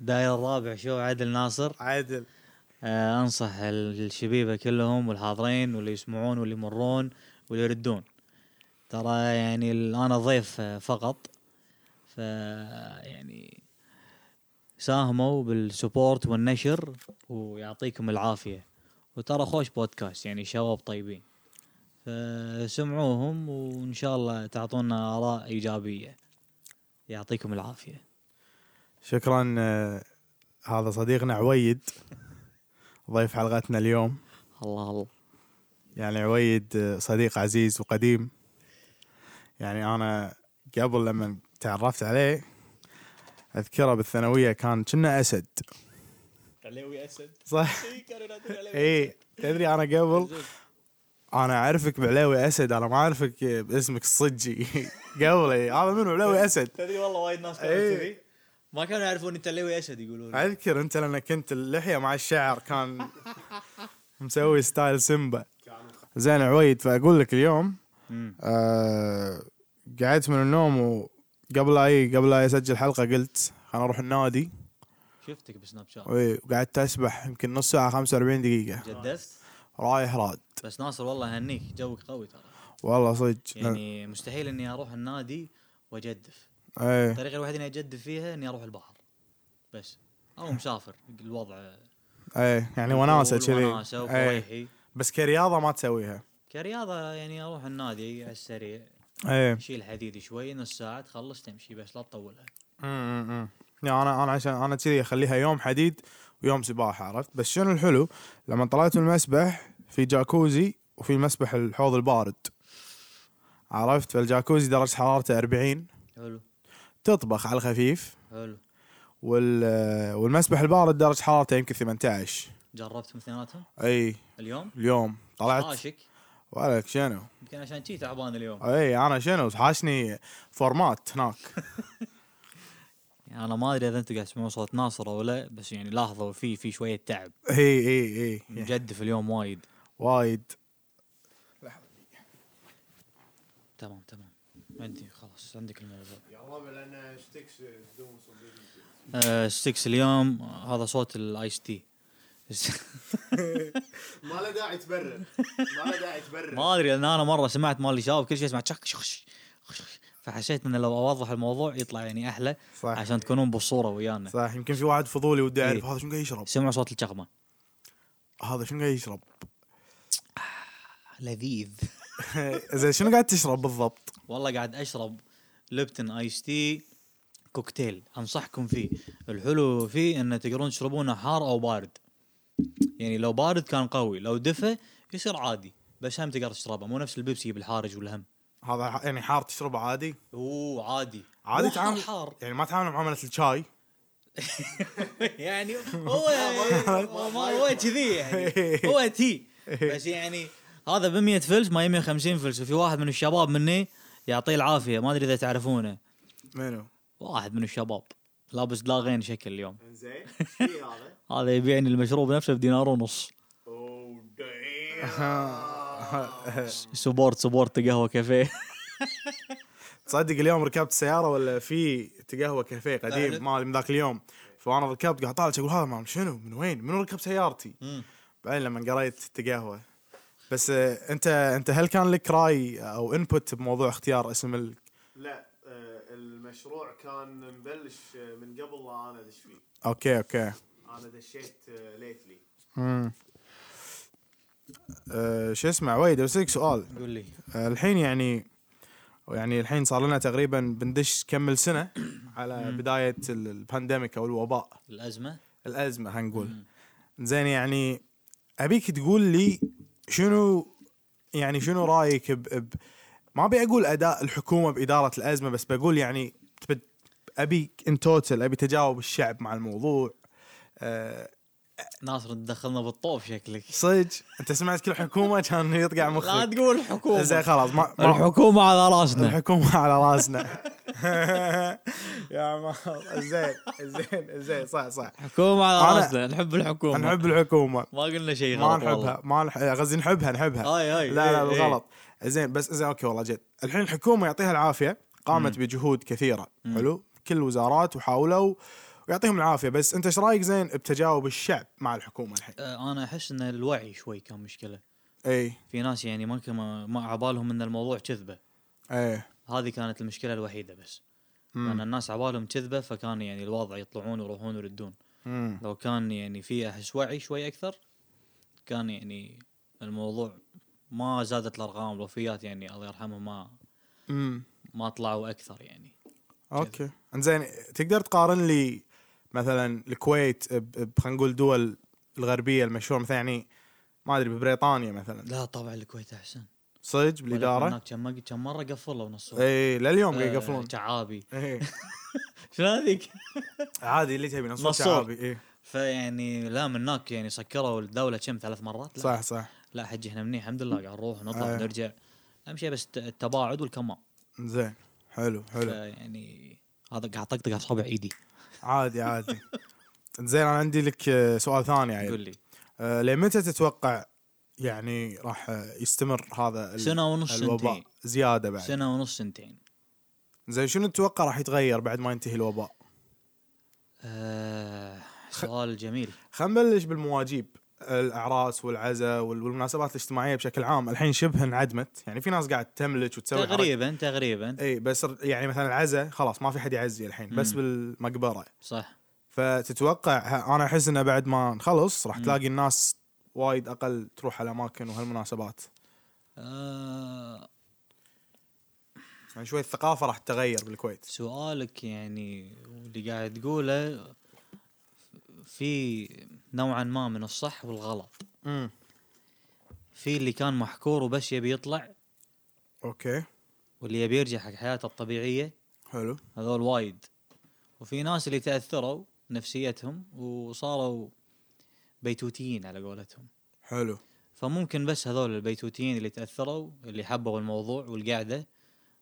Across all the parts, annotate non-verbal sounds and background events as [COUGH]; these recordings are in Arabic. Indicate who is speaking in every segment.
Speaker 1: داير الرابع شو عادل ناصر
Speaker 2: عادل
Speaker 1: آه انصح الشبيبه كلهم والحاضرين واللي يسمعون واللي يمرون واللي يردون ترى يعني ال- انا ضيف آه، فقط ف يعني ساهموا بالسبورت والنشر ويعطيكم العافيه وترى خوش بودكاست يعني شباب طيبين فسمعوهم وان شاء الله تعطونا اراء ايجابيه يعطيكم العافيه
Speaker 2: شكرا آه، هذا صديقنا عويد ضيف حلقتنا اليوم
Speaker 1: الله الله
Speaker 2: يعني عويد آه، صديق عزيز وقديم يعني انا قبل لما تعرفت عليه اذكره بالثانويه كان كنا اسد
Speaker 3: عليوي اسد
Speaker 2: صح
Speaker 3: إي، كانوا ينادون
Speaker 1: يعني
Speaker 3: عليوي
Speaker 2: اي تدري انا قبل
Speaker 3: زين.
Speaker 2: انا اعرفك بعلاوي اسد انا ما اعرفك باسمك الصجي [LAUGHS] قبل إي، هذا منو علاوي اسد
Speaker 1: تدري والله وايد ناس
Speaker 2: كانوا إيه. كذي.
Speaker 1: ما كانوا يعرفون انت لوي اسد يقولون
Speaker 2: اذكر انت لما كنت اللحيه مع الشعر كان مسوي ستايل سيمبا زين عويد فاقول لك اليوم آه قعدت من النوم وقبل لا اي قبل لا اسجل حلقه قلت خلنا اروح النادي
Speaker 1: شفتك بسناب شات
Speaker 2: وي- وقعدت اسبح يمكن نص ساعه 45 دقيقه
Speaker 1: جدست
Speaker 2: رايح راد
Speaker 1: بس ناصر والله هنيك جوك قوي ترى
Speaker 2: والله صدق
Speaker 1: يعني مستحيل اني اروح النادي واجدف
Speaker 2: ايه
Speaker 1: الطريقه الوحيده اني اجدف فيها اني اروح البحر بس او مسافر الوضع
Speaker 2: ايه يعني وناسه
Speaker 1: وناسه
Speaker 2: كذي إيه.
Speaker 1: وفريحي
Speaker 2: بس كرياضه ما تسويها
Speaker 1: كرياضه يعني اروح النادي على السريع
Speaker 2: ايه
Speaker 1: اشيل حديدي شوي نص ساعه تخلص تمشي بس لا تطولها
Speaker 2: امم يعني انا انا عشان انا كذي اخليها يوم حديد ويوم سباحه عرفت بس شنو الحلو لما طلعت من المسبح في جاكوزي وفي مسبح الحوض البارد عرفت فالجاكوزي درجه حرارته 40
Speaker 1: حلو
Speaker 2: تطبخ على الخفيف
Speaker 1: حلو
Speaker 2: وال والمسبح البارد درجه حرارته يمكن 18
Speaker 1: جربتهم اثنيناتهم
Speaker 2: اي
Speaker 1: اليوم
Speaker 2: اليوم طلعت
Speaker 1: عاشق
Speaker 2: ولك شنو
Speaker 1: يمكن عشان شي تعبان اليوم
Speaker 2: اي انا شنو حاشني فورمات هناك [LAUGHS]
Speaker 1: يعني انا ما ادري اذا انتم قاعد تسمعون صوت ناصر او لا بس يعني لاحظوا في في شويه تعب
Speaker 2: اي اي اي
Speaker 1: مجدف اليوم وايد
Speaker 2: وايد
Speaker 1: تمام تمام عندي خلاص عندك الموضوع
Speaker 4: يا ربع لان اشتكس بدون صديق
Speaker 1: أه ستيكس اليوم هذا صوت الايس تي
Speaker 4: ما له داعي تبرر ما له داعي تبرر
Speaker 1: [LAUGHS] ما ادري لان انا مره سمعت مال الشباب كل شيء اسمع تشك شخش خش- خش. فحسيت ان لو اوضح الموضوع يطلع يعني احلى
Speaker 2: صح
Speaker 1: عشان تكونون بالصوره ويانا
Speaker 2: صح يمكن في واحد فضولي ودي
Speaker 1: إي.
Speaker 2: اعرف هذا شنو قاعد يشرب
Speaker 1: سمعوا صوت الشخمه
Speaker 2: هذا شنو قاعد يشرب
Speaker 1: لذيذ
Speaker 2: [LAUGHS] زين شنو قاعد تشرب بالضبط؟
Speaker 1: والله قاعد اشرب ليبتن ايس تي كوكتيل انصحكم فيه الحلو فيه ان تقدرون تشربونه حار او بارد يعني لو بارد كان قوي لو دفى يصير عادي بس هم تقدر تشربه مو نفس البيبسي بالحارج والهم
Speaker 2: هذا ح- يعني حار تشربه عادي؟
Speaker 1: اوه عادي
Speaker 2: عادي
Speaker 1: مو حار
Speaker 2: تعامل
Speaker 1: حار
Speaker 2: [LAUGHS] يعني ما تعامل معامله الشاي؟
Speaker 1: يعني
Speaker 2: [LAUGHS]
Speaker 1: هو هو- هو كذي يعني هو تي بس يعني هذا ب 100 فلس ما 150 فلس وفي واحد من الشباب مني يعطيه العافيه ما ادري اذا تعرفونه
Speaker 2: منو؟
Speaker 1: واحد من الشباب لابس داغين شكل اليوم
Speaker 4: زين ايش هذا؟
Speaker 1: هذا يبيعني المشروب نفسه بدينار ونص
Speaker 4: اوه دايم
Speaker 1: سبورت سبورت قهوه
Speaker 2: [LAUGHS]
Speaker 1: كافيه
Speaker 2: تصدق اليوم ركبت سياره ولا في تقهوى كافيه
Speaker 1: أهلا.
Speaker 2: قديم مالي من ذاك اليوم فانا ركبت قاعد طالع اقول هذا مال شنو؟ من وين؟ منو ركب سيارتي؟ بعدين لما قريت تقهوى بس آه، انت انت هل كان لك راي او انبوت بموضوع اختيار اسم ال...
Speaker 4: لا آه، المشروع كان مبلش آه، من قبل لا انا ادش فيه
Speaker 2: اوكي اوكي
Speaker 4: انا دشيت آه، ليتلي
Speaker 2: امم أه شو اسمه عويد بسالك سؤال
Speaker 1: قول لي
Speaker 2: آه، الحين يعني يعني الحين صار لنا تقريبا بندش كمل سنه على بدايه ال- البانديميك او الوباء
Speaker 1: الازمه
Speaker 2: الازمه هنقول زين يعني ابيك تقول لي شنو يعني شنو رايك ب, ب ما ابي اقول اداء الحكومه باداره الازمه بس بقول يعني تب- ابي ان توتل ابي تجاوب الشعب مع الموضوع أه
Speaker 1: ناصر تدخلنا بالطوف شكلك
Speaker 2: صدق انت سمعت كل حكومه كان يطقع
Speaker 1: لا
Speaker 2: مخك
Speaker 1: تقول الحكومه
Speaker 2: زين خلاص ما, ما
Speaker 1: الحكومه على راسنا
Speaker 2: الحكومة [LAUGHS] على راسنا يا عمار زين زين زين صح صح
Speaker 1: الحكومه على
Speaker 2: أنا-
Speaker 1: راسنا نحب الحكومه
Speaker 2: نحب الحكومة
Speaker 1: ما قلنا شيء
Speaker 2: ما
Speaker 1: غلط والله.
Speaker 2: نحبها ما نح... قصدي نحبها نحبها
Speaker 1: هاي هاي
Speaker 2: لا لا
Speaker 1: إيه، إيه.
Speaker 2: بالغلط زين بس زين اوكي والله جد الحين الحكومة يعطيها العافية قامت بجهود كثيرة حلو كل الوزارات وحاولوا ويعطيهم العافيه بس انت ايش رايك زين بتجاوب الشعب مع الحكومه الحين؟
Speaker 1: آه، انا احس ان الوعي شوي كان مشكله
Speaker 2: اي
Speaker 1: في ناس يعني ما كما ما عبالهم ان الموضوع كذبه
Speaker 2: اي
Speaker 1: هذه كانت المشكله الوحيده بس
Speaker 2: مم.
Speaker 1: لان الناس عبالهم كذبه فكان يعني الوضع يطلعون ويروحون ويردون
Speaker 2: مم.
Speaker 1: لو كان يعني في احس وعي شوي اكثر كان يعني الموضوع ما زادت الارقام الوفيات يعني الله يرحمه ما
Speaker 2: مم.
Speaker 1: ما طلعوا اكثر يعني
Speaker 2: اوكي انزين تقدر تقارن لي مثلا الكويت ب- ب- خلينا نقول دول الغربيه المشهوره مثلا يعني ما ادري ببريطانيا مثلا
Speaker 1: لا طبعا الكويت احسن
Speaker 2: صدق بالاداره
Speaker 1: هناك كم كم مره قفلوا نص
Speaker 2: اي لليوم
Speaker 1: آه،
Speaker 2: يقفلون
Speaker 1: شعابي
Speaker 2: إي.
Speaker 1: شنو هذيك؟
Speaker 2: عادي اللي تبي نصور
Speaker 1: نصور.
Speaker 2: شعابي اي
Speaker 1: فيعني لا من هناك يعني سكروا الدوله كم ثلاث مرات لا
Speaker 2: صح صح
Speaker 1: لا حجي احنا منيح الحمد لله قاعد نروح نطلع
Speaker 2: آه.
Speaker 1: نرجع اهم شيء بس الت- التباعد والكمام
Speaker 2: زين حلو حلو
Speaker 1: يعني هذا قاعد طقطق على صابع ايدي [LAUGHS]
Speaker 2: عادي عادي زين انا عندي لك آه، سؤال ثاني
Speaker 1: قول
Speaker 2: يعني
Speaker 1: لي
Speaker 2: آه، لمتى تتوقع يعني راح آه، يستمر هذا ال-
Speaker 1: سنه ونص
Speaker 2: الوباء
Speaker 1: سنتين
Speaker 2: زياده بعد
Speaker 1: سنه ونص سنتين
Speaker 2: زين شنو تتوقع راح يتغير بعد ما ينتهي الوباء؟
Speaker 1: آه، سؤال جميل
Speaker 2: خلينا نبلش بالمواجيب الاعراس والعزاء وال- والمناسبات الاجتماعيه بشكل عام الحين شبه انعدمت يعني في ناس قاعد تملج وتسوي حركة.
Speaker 1: تقريبا تقريبا
Speaker 2: اي بس ر- يعني مثلا العزاء خلاص ما في حد يعزي الحين بس
Speaker 1: مم.
Speaker 2: بالمقبره
Speaker 1: صح
Speaker 2: فتتوقع ه- انا احس انه بعد ما نخلص راح تلاقي الناس وايد اقل تروح على اماكن وهالمناسبات
Speaker 1: آه،
Speaker 2: يعني شوي الثقافه راح تتغير بالكويت
Speaker 1: سؤالك يعني واللي قاعد تقوله في نوعا ما من الصح والغلط
Speaker 2: امم
Speaker 1: في اللي كان محكور وبس يبي يطلع
Speaker 2: اوكي
Speaker 1: واللي يبي يرجع حق حياته الطبيعيه
Speaker 2: حلو
Speaker 1: هذول وايد وفي ناس اللي تاثروا نفسيتهم وصاروا بيتوتيين على قولتهم
Speaker 2: حلو
Speaker 1: فممكن بس هذول البيتوتيين اللي تاثروا اللي حبوا الموضوع والقعده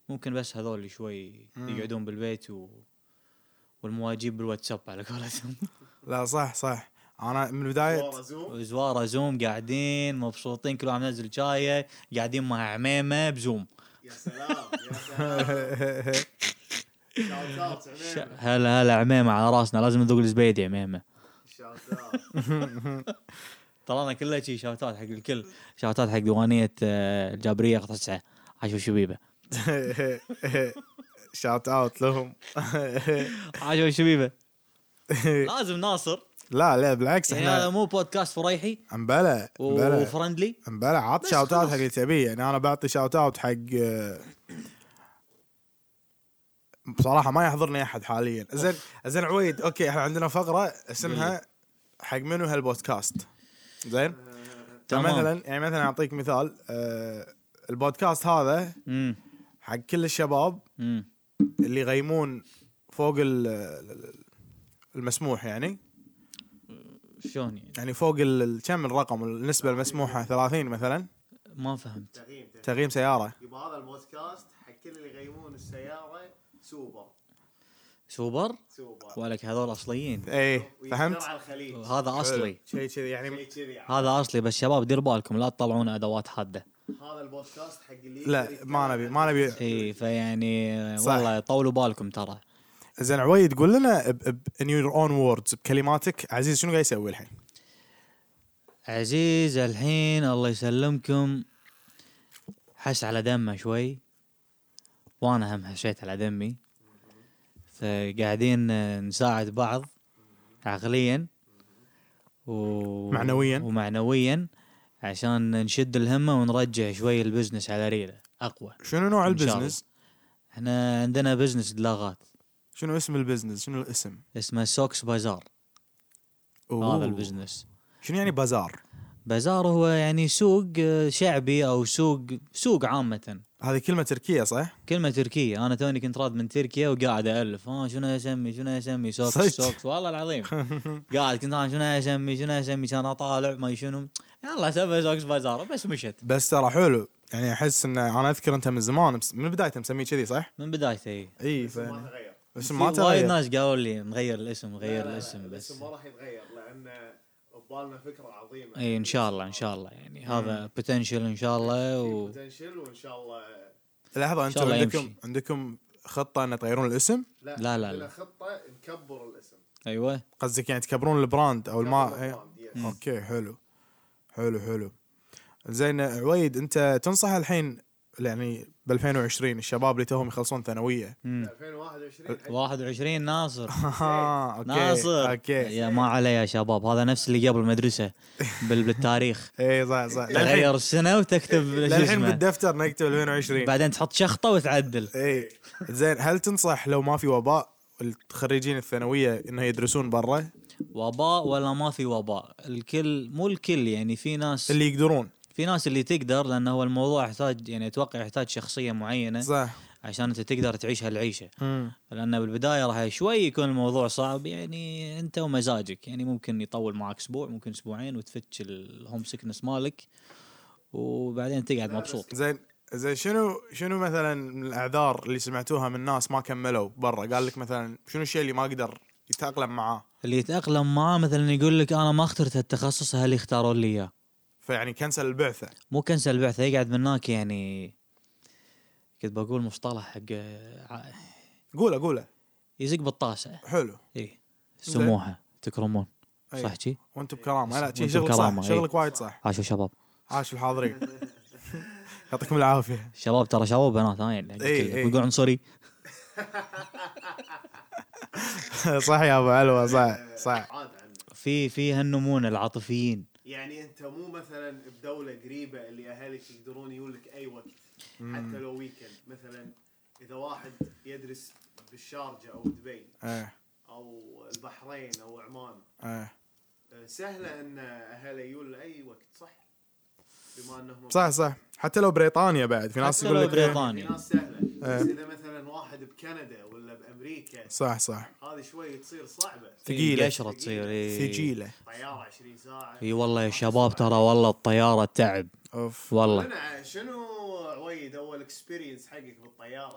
Speaker 1: ممكن بس هذول اللي شوي
Speaker 2: مم.
Speaker 1: يقعدون بالبيت و... والمواجيب بالواتساب على قولتهم [LAUGHS]
Speaker 2: لا صح صح انا من بدايه
Speaker 4: صورة زوم
Speaker 1: زواره زوم قاعدين مبسوطين كل واحد منزل شايه قاعدين مع عميمه بزوم
Speaker 4: يا سلام يا
Speaker 2: [LAUGHS]
Speaker 4: سلام شاوت اوت
Speaker 1: ش...
Speaker 4: عميمة
Speaker 1: هلا هلا عميمه على راسنا لازم نذوق الزبيد يا عميمه
Speaker 4: شاوت اوت
Speaker 1: طلعنا كله شي شاوتات حق الكل شاوتات حق ديوانيه آه، الجابريه قطعه تسعه عاشوا شبيبه
Speaker 2: شات اوت لهم [LAUGHS]
Speaker 1: عاشوا شبيبه لازم ناصر
Speaker 2: [LAUGHS] لا لا بالعكس
Speaker 1: يعني هذا
Speaker 2: احنا
Speaker 1: مو بودكاست فريحي
Speaker 2: امبلا
Speaker 1: و-
Speaker 2: امبلا
Speaker 1: وفرندلي
Speaker 2: امبلا عط
Speaker 1: بس
Speaker 2: شاوت اوت
Speaker 1: خلاص.
Speaker 2: حق اللي تبيه يعني انا بعطي شاوت اوت حق آه، بصراحه ما يحضرني احد حاليا زين زين عويد اوكي احنا عندنا فقره اسمها حق منو هالبودكاست زين
Speaker 1: تمام
Speaker 2: مثلا يعني مثلا اعطيك مثال آه، البودكاست هذا
Speaker 1: امم
Speaker 2: حق كل الشباب
Speaker 1: امم
Speaker 2: اللي يغيمون فوق ال- المسموح يعني
Speaker 1: شلون يعني
Speaker 2: يعني فوق ال- ال- كم الرقم النسبه المسموحه 30 مثلا
Speaker 1: ما فهمت
Speaker 4: تغييم تغييم.
Speaker 2: تغييم سياره
Speaker 4: يبقى هذا البودكاست حق كل اللي يغيمون السياره سوبر
Speaker 1: سوبر
Speaker 4: سوبر
Speaker 1: ولك هذول اصليين
Speaker 2: ايه
Speaker 4: ويجتمع
Speaker 2: فهمت
Speaker 4: على الخليج
Speaker 1: هذا اصلي
Speaker 2: شيء كذي يعني
Speaker 4: شيء كذي عاد.
Speaker 1: هذا اصلي بس شباب دير بالكم لا تطلعون ادوات حاده
Speaker 4: هذا البودكاست حق اللي
Speaker 2: لا ما نبي ما نبي
Speaker 1: اي إيه، فيعني آه،
Speaker 2: صح.
Speaker 1: والله طولوا بالكم ترى
Speaker 2: زين عويد قول لنا ان يور اون ووردز بكلماتك عزيز شنو قاعد يسوي الحين؟
Speaker 1: عزيز الحين الله يسلمكم حس على دمه شوي وانا هم حشيت على دمي فقاعدين آه، نساعد بعض عقليا و...
Speaker 2: معنوياً.
Speaker 1: ومعنويا عشان نشد الهمه ونرجع شوي البزنس على ريله اقوى
Speaker 2: شنو نوع
Speaker 1: إن شاء الله.
Speaker 2: البزنس؟
Speaker 1: احنا عندنا بزنس دلاغات
Speaker 2: شنو اسم البزنس؟ شنو الاسم؟
Speaker 1: اسمه سوكس بازار
Speaker 2: أوه.
Speaker 1: هذا البزنس
Speaker 2: شنو يعني بازار؟
Speaker 1: بازار هو يعني سوق آه، شعبي او سوق سوق عامه
Speaker 2: هذه كلمه تركيه صح؟
Speaker 1: كلمه تركيه انا توني كنت راد من تركيا وقاعد الف ها شنو اسمي شنو اسمي سوكس
Speaker 2: صدق؟
Speaker 1: سوكس والله العظيم
Speaker 2: [LAUGHS]
Speaker 1: قاعد كنت انا شنو اسمي شنو اسمي كان اطالع ما شنو يلا سمي سوكس بازار بس مشت
Speaker 2: بس ترى حلو يعني احس ان انا اذكر انت من زمان مس- من بدايته مسميه كذي صح؟
Speaker 1: من بدايته اي
Speaker 2: اي ف...
Speaker 4: ما تغير
Speaker 2: بس
Speaker 1: في
Speaker 2: ما
Speaker 1: وايد
Speaker 2: تغير
Speaker 1: ناس قالوا لي نغير الاسم
Speaker 4: لا،
Speaker 1: نغير
Speaker 4: لا، لا،
Speaker 1: الاسم بس
Speaker 4: الاسم ما راح يتغير لان ببالنا فكره عظيمه
Speaker 1: اي ان شاء الله ان شاء الله يعني هذا بوتنشل ان شاء الله و...
Speaker 4: بوتنشل وان شاء الله
Speaker 2: لحظه انتم
Speaker 1: الله
Speaker 2: عندكم
Speaker 1: يمشي.
Speaker 2: عندكم خطه ان تغيرون الاسم؟
Speaker 4: لا
Speaker 1: لا، لا،
Speaker 4: عندنا
Speaker 1: لا.
Speaker 4: خطه نكبر الاسم
Speaker 1: ايوه
Speaker 2: قصدك يعني تكبرون البراند او الما
Speaker 4: البراند، يس.
Speaker 1: مم.
Speaker 2: اوكي حلو حلو حلو زين عويد انت تنصح الحين يعني ب 2020 الشباب اللي توهم يخلصون ثانويه
Speaker 1: مم.
Speaker 4: 2021 حق
Speaker 1: 21 ناصر
Speaker 2: [LAUGHS] آه، اوكي
Speaker 1: ناصر
Speaker 2: اوكي
Speaker 1: يا ما عليه يا شباب هذا نفس اللي قبل المدرسه بال- بالتاريخ
Speaker 2: اي إيه، صح صح [LAUGHS] للحين
Speaker 1: تغير السنه وتكتب شو
Speaker 2: للحين
Speaker 1: اسمه
Speaker 2: بالدفتر نكتب 2020
Speaker 1: بعدين تحط شخطه وتعدل
Speaker 2: اي زين هل تنصح لو ما في وباء الخريجين الثانويه انه يدرسون برا
Speaker 1: وباء ولا ما في وباء الكل مو الكل يعني في ناس
Speaker 2: اللي يقدرون
Speaker 1: في ناس اللي تقدر لانه هو الموضوع يحتاج يعني اتوقع يحتاج شخصيه معينه
Speaker 2: صح
Speaker 1: عشان انت تقدر تعيش هالعيشه
Speaker 2: مم.
Speaker 1: لانه بالبدايه راح شوي يكون الموضوع صعب يعني انت ومزاجك يعني ممكن يطول معك اسبوع ممكن اسبوعين وتفتش الهوم سكنس مالك وبعدين تقعد مبسوط
Speaker 2: زين زين شنو شنو مثلا من الاعذار اللي سمعتوها من ناس ما كملوا برا قال لك مثلا شنو الشيء اللي ما قدر يتاقلم معاه
Speaker 1: اللي يتاقلم معاه مثلا يقول لك انا ما اخترت هالتخصص هل يختاروا لي اياه
Speaker 2: فيعني كنسل البعثه
Speaker 1: مو كنسل البعثه يقعد من هناك يعني كنت بقول مصطلح حق ع-
Speaker 2: قوله قوله
Speaker 1: يزق بالطاسه
Speaker 2: حلو
Speaker 1: اي سموحه تكرمون
Speaker 2: أي.
Speaker 1: صح شي
Speaker 2: وانتم بكرامه لا شي
Speaker 1: وأنتم
Speaker 2: شغلك
Speaker 1: بكرامة، إيه.
Speaker 2: صح
Speaker 1: إي.
Speaker 2: شغلك وايد صح
Speaker 1: عاشوا شباب
Speaker 2: عاش الحاضرين [LAUGHS] يعطيكم [LAUGHS] العافيه
Speaker 1: شباب ترى شباب بنات ها يعني
Speaker 2: إي، إي.
Speaker 1: يقول عنصري
Speaker 2: صح يا ابو علوه صح صح
Speaker 4: عاد عنه
Speaker 1: في في هالنمونه العاطفيين
Speaker 4: يعني انت مو مثلا بدوله قريبه اللي اهلك يقدرون يقولك اي وقت حتى لو ويكند مثلا اذا واحد يدرس بالشارجه او دبي
Speaker 2: ايه
Speaker 4: او البحرين او عمان
Speaker 2: ايه
Speaker 4: آه، سهله ان اهله يقول له اي وقت صح بما انهم
Speaker 2: صح صح حتى لو بريطانيا بعد في ناس
Speaker 1: حتى
Speaker 2: يقول
Speaker 1: لو
Speaker 2: لك إيه.
Speaker 1: بريطانيا.
Speaker 4: في ناس سهله
Speaker 2: إيه.
Speaker 4: بس اذا مثلا واحد بكندا ولا بامريكا
Speaker 2: صح صح
Speaker 4: هذه شوي تصير صعبه
Speaker 2: ثقيلة.
Speaker 1: قشره تصير اي
Speaker 2: ثقيله
Speaker 4: طياره 20 ساعه
Speaker 1: اي والله يا شباب ترى والله الطياره تعب
Speaker 2: اوف
Speaker 1: والله
Speaker 4: منع شنو عويد اول اكسبيرينس حقك بالطياره؟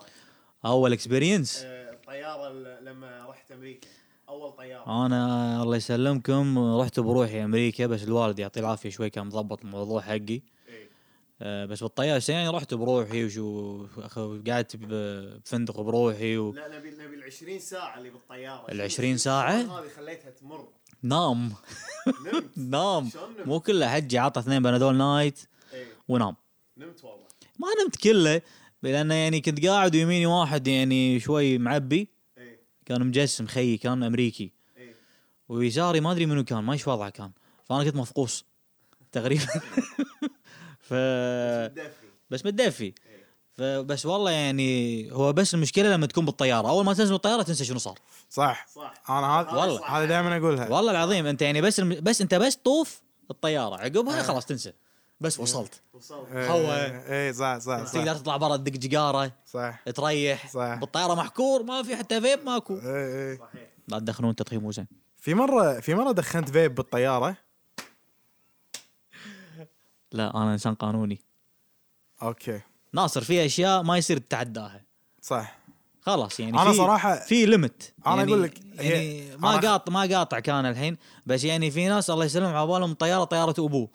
Speaker 1: اول اكسبيرينس
Speaker 4: آه، الطياره ل- لما رحت امريكا اول طياره
Speaker 1: آه. انا الله يسلمكم رحت بروحي امريكا بس الوالد يعطيه العافيه شوي كان مضبط الموضوع حقي
Speaker 4: إيه.
Speaker 1: آه، بس بالطياره يعني رحت بروحي وشو أخ- قعدت ب- بفندق بروحي و...
Speaker 4: لا نبي نبي ال 20 ساعه اللي بالطياره
Speaker 1: ال 20 ساعة؟
Speaker 4: شلون هذه خليتها تمر
Speaker 1: نام
Speaker 4: نمت
Speaker 1: [LAUGHS] نام
Speaker 4: شلون نمت؟
Speaker 1: مو كله حجي عطى اثنين بنادول نايت
Speaker 4: إيه،
Speaker 1: ونام
Speaker 4: نمت والله
Speaker 1: ما نمت كله لانه يعني كنت قاعد ويميني واحد يعني شوي معبي
Speaker 4: اي
Speaker 1: كان مجسم خيي كان امريكي
Speaker 4: اي
Speaker 1: ويساري ما ادري منو كان ما ايش وضعه كان فانا كنت مفقوس تقريبا [LAUGHS] ف
Speaker 4: دفي
Speaker 1: بس متدفي فبس والله يعني هو بس المشكله لما تكون بالطياره اول ما تنزل بالطياره تنسى شنو صار
Speaker 2: صح
Speaker 4: صح
Speaker 2: انا هذا
Speaker 1: والله.
Speaker 2: هذا دائما اقولها
Speaker 1: والله العظيم انت يعني بس الم... بس انت بس طوف الطياره عقبها خلاص تنسى بس وصلت
Speaker 4: وصلت
Speaker 2: إيه،
Speaker 1: هو.
Speaker 2: اي صح صح صح
Speaker 1: تقدر تطلع برا تدق جقاره
Speaker 2: صح
Speaker 1: تريح
Speaker 2: صح.
Speaker 1: بالطياره محكور ما في حتى فيب ماكو
Speaker 2: إيه، إيه.
Speaker 4: صحيح
Speaker 1: لا تدخلون تدخين مو زين
Speaker 2: في مره في مره دخنت فيب بالطياره
Speaker 1: لا انا انسان قانوني
Speaker 2: اوكي
Speaker 1: ناصر في اشياء ما يصير تتعداها
Speaker 2: صح
Speaker 1: خلاص يعني
Speaker 2: أنا
Speaker 1: في-
Speaker 2: صراحة-
Speaker 1: في ليمت
Speaker 2: أنا أقول لك، هي-
Speaker 1: يعني ما
Speaker 2: أنا-
Speaker 1: قاط ما قاطع كان الحين بس يعني في ناس الله يسلمهم على بالهم طياره طياره ابوه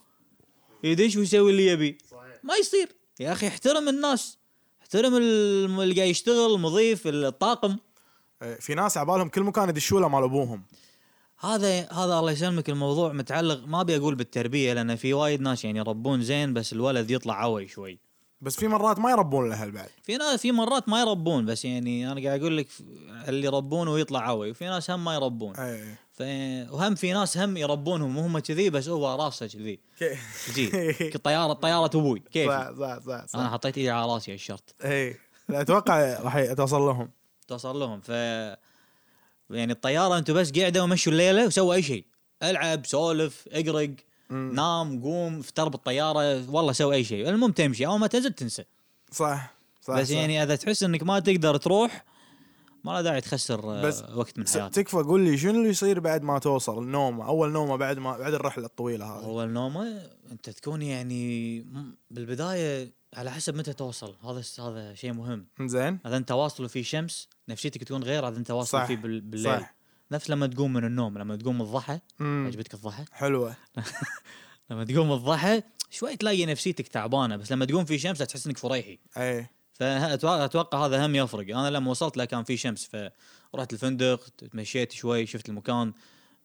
Speaker 1: يدش ويسوي اللي يبي
Speaker 4: صحيح
Speaker 1: ما يصير يا اخي احترم الناس احترم الم- اللي قاعد يشتغل المضيف الطاقم
Speaker 2: إيه، في ناس عبالهم كل مكان يدشوا له مال ابوهم
Speaker 1: هذا هذا الله يسلمك الموضوع متعلق ما ابي اقول بالتربيه لان في وايد ناس يعني يربون زين بس الولد يطلع عوي شوي
Speaker 2: بس في مرات ما يربون الاهل بعد
Speaker 1: في ناس في مرات ما يربون بس يعني انا قاعد اقول لك اللي يربون ويطلع عوي وفي ناس هم ما يربون
Speaker 2: إيه.
Speaker 1: ف... وهم في ناس هم يربونهم وهم كذي بس هو راسه كذي
Speaker 2: كي-
Speaker 1: كذي
Speaker 2: [LAUGHS]
Speaker 1: طياره طياره ابوي كيف
Speaker 2: صح صح صح صح
Speaker 1: انا حطيت ايدي على راسي الشرط
Speaker 2: اي إيه. لا، اتوقع راح اتوصل لهم
Speaker 1: توصل لهم ف يعني الطياره انتم بس قاعده ومشوا الليله وسووا اي شيء العب سولف اقرق نام قوم افتر بالطياره والله سوي اي شيء المهم تمشي اول ما تنزل تنسى
Speaker 2: صح صح
Speaker 1: بس
Speaker 2: صح.
Speaker 1: يعني اذا تحس انك ما تقدر تروح ما له داعي تخسر آه،
Speaker 2: بس
Speaker 1: وقت من
Speaker 2: س-
Speaker 1: حياتك
Speaker 2: تكفى قول لي شنو اللي يصير بعد ما توصل النومه اول نومه بعد ما بعد الرحله الطويله هذه
Speaker 1: هو النومه انت تكون يعني م- بالبدايه على حسب متى توصل هذا الس- هذا شيء مهم
Speaker 2: زين
Speaker 1: اذا انت واصل وفي شمس نفسيتك تكون غير اذا انت واصل
Speaker 2: صح،
Speaker 1: فيه بال- بالليل
Speaker 2: صح.
Speaker 1: نفس لما تقوم من النوم لما تقوم الضحى
Speaker 2: مم.
Speaker 1: عجبتك الضحى
Speaker 2: حلوه
Speaker 1: لما تقوم الضحى شوي تلاقي نفسيتك تعبانه بس لما تقوم في شمس تحس انك فريحي
Speaker 2: اي
Speaker 1: فاتوقع هذا هم يفرق انا لما وصلت لا كان في شمس ف رحت الفندق تمشيت شوي شفت المكان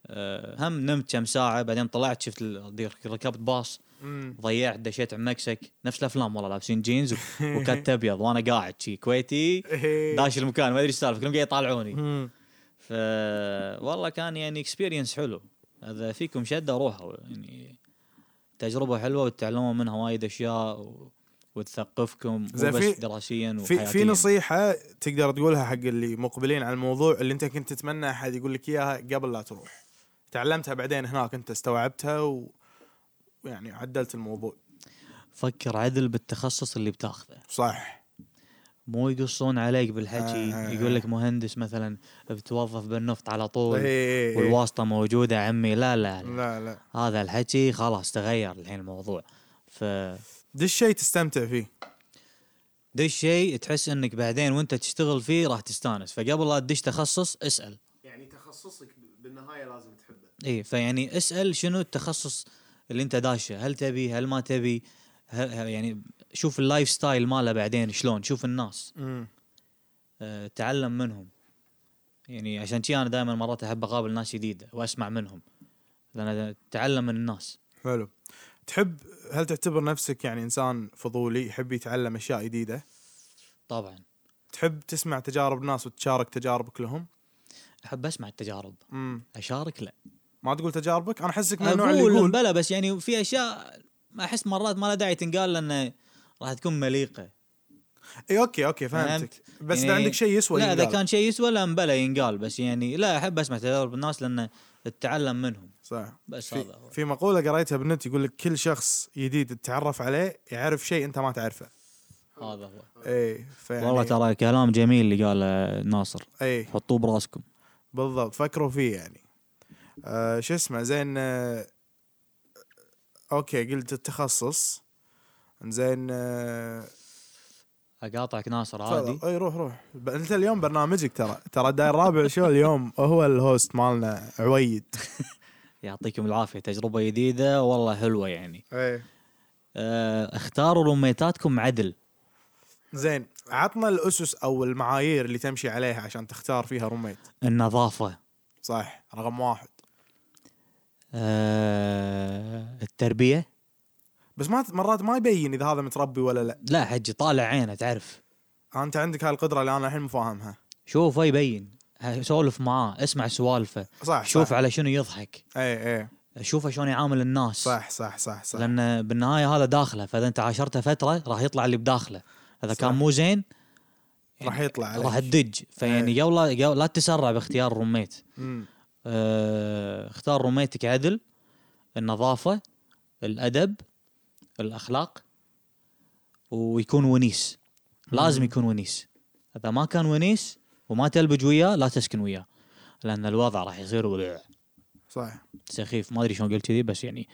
Speaker 1: آه، هم نمت كم ساعه بعدين طلعت شفت ال- ركبت باص
Speaker 2: مم.
Speaker 1: ضيعت دشيت على مكسك نفس الافلام والله لابسين جينز وكات ابيض وانا قاعد شي كويتي
Speaker 2: إيه.
Speaker 1: داش المكان ما ادري ايش السالفه كلهم قاعد يطالعوني
Speaker 2: مم.
Speaker 1: ف والله كان يعني اكسبيرينس حلو اذا فيكم شده روحوا يعني تجربه حلوه وتتعلمون منها وايد اشياء و... وتثقفكم مو
Speaker 2: زين،
Speaker 1: بس
Speaker 2: في-
Speaker 1: دراسيا
Speaker 2: في
Speaker 1: وحياتيا
Speaker 2: في نصيحه تقدر تقولها حق اللي مقبلين على الموضوع اللي انت كنت تتمنى احد يقول لك اياها قبل لا تروح تعلمتها بعدين هناك انت استوعبتها و... ويعني عدلت الموضوع
Speaker 1: فكر عدل بالتخصص اللي بتاخذه
Speaker 2: صح
Speaker 1: مو يقصون عليك بالحكي
Speaker 2: آه.
Speaker 1: يقول لك مهندس مثلا بتوظف بالنفط على
Speaker 2: إيه،
Speaker 1: طول
Speaker 2: إيه، إيه.
Speaker 1: والواسطه موجوده عمي لا لا, لا.
Speaker 2: لا لا
Speaker 1: هذا الحكي خلاص تغير الحين الموضوع ف
Speaker 2: دي الشيء تستمتع فيه
Speaker 1: دش الشيء تحس انك بعدين وانت تشتغل فيه راح تستانس فقبل لا تدش تخصص اسال
Speaker 4: يعني تخصصك بالنهايه لازم تحبه
Speaker 1: اي فيعني اسال شنو التخصص اللي انت داشه هل تبي هل ما تبي هل هل- يعني شوف اللايف ستايل ماله بعدين شلون شوف الناس
Speaker 2: مم.
Speaker 1: آه، تعلم منهم يعني عشان شي انا دائما مرات احب اقابل ناس جديده واسمع منهم لان اتعلم من الناس
Speaker 2: حلو تحب هل تعتبر نفسك يعني انسان فضولي يحب يتعلم اشياء جديده
Speaker 1: طبعا
Speaker 2: تحب تسمع تجارب ناس وتشارك تجاربك لهم
Speaker 1: احب اسمع التجارب
Speaker 2: مم.
Speaker 1: اشارك لا
Speaker 2: ما تقول تجاربك انا احسك من النوع اللي
Speaker 1: اقول
Speaker 2: يقول
Speaker 1: بلا بس يعني في اشياء ما احس مرات ما لها داعي تنقال لانه راح تكون مليقه
Speaker 2: اي اوكي اوكي إيه، فهمتك بس اذا
Speaker 1: يعني-
Speaker 2: عندك شيء يسوى
Speaker 1: لا اذا
Speaker 2: ينقال.
Speaker 1: كان شيء يسوى لا مبلا ينقال بس يعني لا احب اسمع تجارب الناس لانه اتعلم منهم
Speaker 2: صح
Speaker 1: بس هذا
Speaker 2: في,
Speaker 1: هو.
Speaker 2: في مقوله قريتها بالنت يقول لك كل شخص جديد تتعرف عليه يعرف شيء انت ما تعرفه
Speaker 1: هذا هو
Speaker 2: اي فيعني
Speaker 1: والله ترى كلام جميل اللي قاله ناصر
Speaker 2: اي
Speaker 1: حطوه براسكم
Speaker 2: بالضبط فكروا فيه يعني آه شو اسمه زين آه اوكي قلت التخصص زين آه
Speaker 1: اقاطعك ناصر عادي
Speaker 2: تفضل. اي روح روح ب- انت اليوم برنامجك ترى ترى الداير الرابع شو اليوم [LAUGHS] هو الهوست مالنا عويد
Speaker 1: يعطيكم العافيه تجربه جديده والله حلوه يعني
Speaker 2: اي
Speaker 1: آه، اختاروا روميتاتكم عدل
Speaker 2: زين عطنا الاسس او المعايير اللي تمشي عليها عشان تختار فيها روميت
Speaker 1: النظافه
Speaker 2: صح رقم واحد
Speaker 1: آه، التربيه
Speaker 2: بس ما مرات ما يبين اذا هذا متربي ولا لا
Speaker 1: لا حجي طالع عينه تعرف
Speaker 2: انت عندك هاي القدره اللي انا الحين مفاهمها
Speaker 1: شوفه يبين ه- سولف معاه اسمع سوالفه
Speaker 2: صح
Speaker 1: شوف
Speaker 2: صح.
Speaker 1: على شنو يضحك
Speaker 2: اي اي
Speaker 1: شوفه شلون يعامل الناس
Speaker 2: صح صح صح صح
Speaker 1: لان بالنهايه هذا داخله فاذا انت عاشرته فتره راح يطلع اللي بداخله اذا
Speaker 2: صح.
Speaker 1: كان مو زين
Speaker 2: راح يطلع عليك إيه.
Speaker 1: راح تدج فيعني قبل قبل- لا تسرع باختيار روميت
Speaker 2: مم.
Speaker 1: آه، اختار روميتك عدل النظافه الادب الاخلاق ويكون ونيس لازم يكون ونيس اذا ما كان ونيس وما تلبج وياه لا تسكن وياه لان الوضع راح يصير وضع
Speaker 2: صح [LAUGHS]
Speaker 1: سخيف ما ادري شلون قلت كذي بس يعني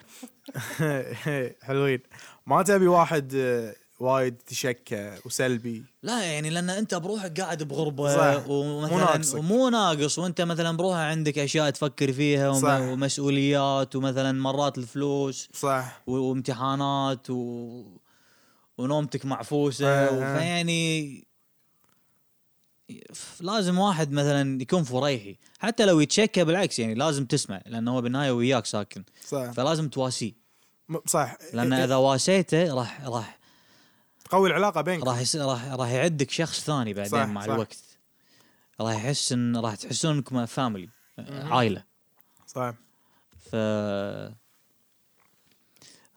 Speaker 2: حلوين ما تبي واحد آه، وايد تشكى وسلبي
Speaker 1: لا يعني لان انت بروحك قاعد بغربه
Speaker 2: صح. مو ناقصك.
Speaker 1: ومثلا مو ناقص وانت مثلا بروحه عندك اشياء تفكر فيها وم-
Speaker 2: صح.
Speaker 1: ومسؤوليات ومثلا مرات الفلوس
Speaker 2: صح
Speaker 1: و- وامتحانات و... ونومتك معفوسه
Speaker 2: آه، آه.
Speaker 1: فيعني ف- لازم واحد مثلا يكون فريحي حتى لو يتشكى بالعكس يعني لازم تسمع لانه هو بالنهايه وياك ساكن
Speaker 2: صح
Speaker 1: فلازم تواسيه
Speaker 2: م- صح
Speaker 1: لان
Speaker 2: آه. إيه،
Speaker 1: اذا واسيته راح راح
Speaker 2: تقوي العلاقه بينك
Speaker 1: راح يصير راح راح يعدك شخص ثاني بعدين
Speaker 2: صح،
Speaker 1: مع
Speaker 2: صح.
Speaker 1: الوقت راح يحس ان راح تحسون انكم فاميلي عائله
Speaker 2: صح
Speaker 1: ف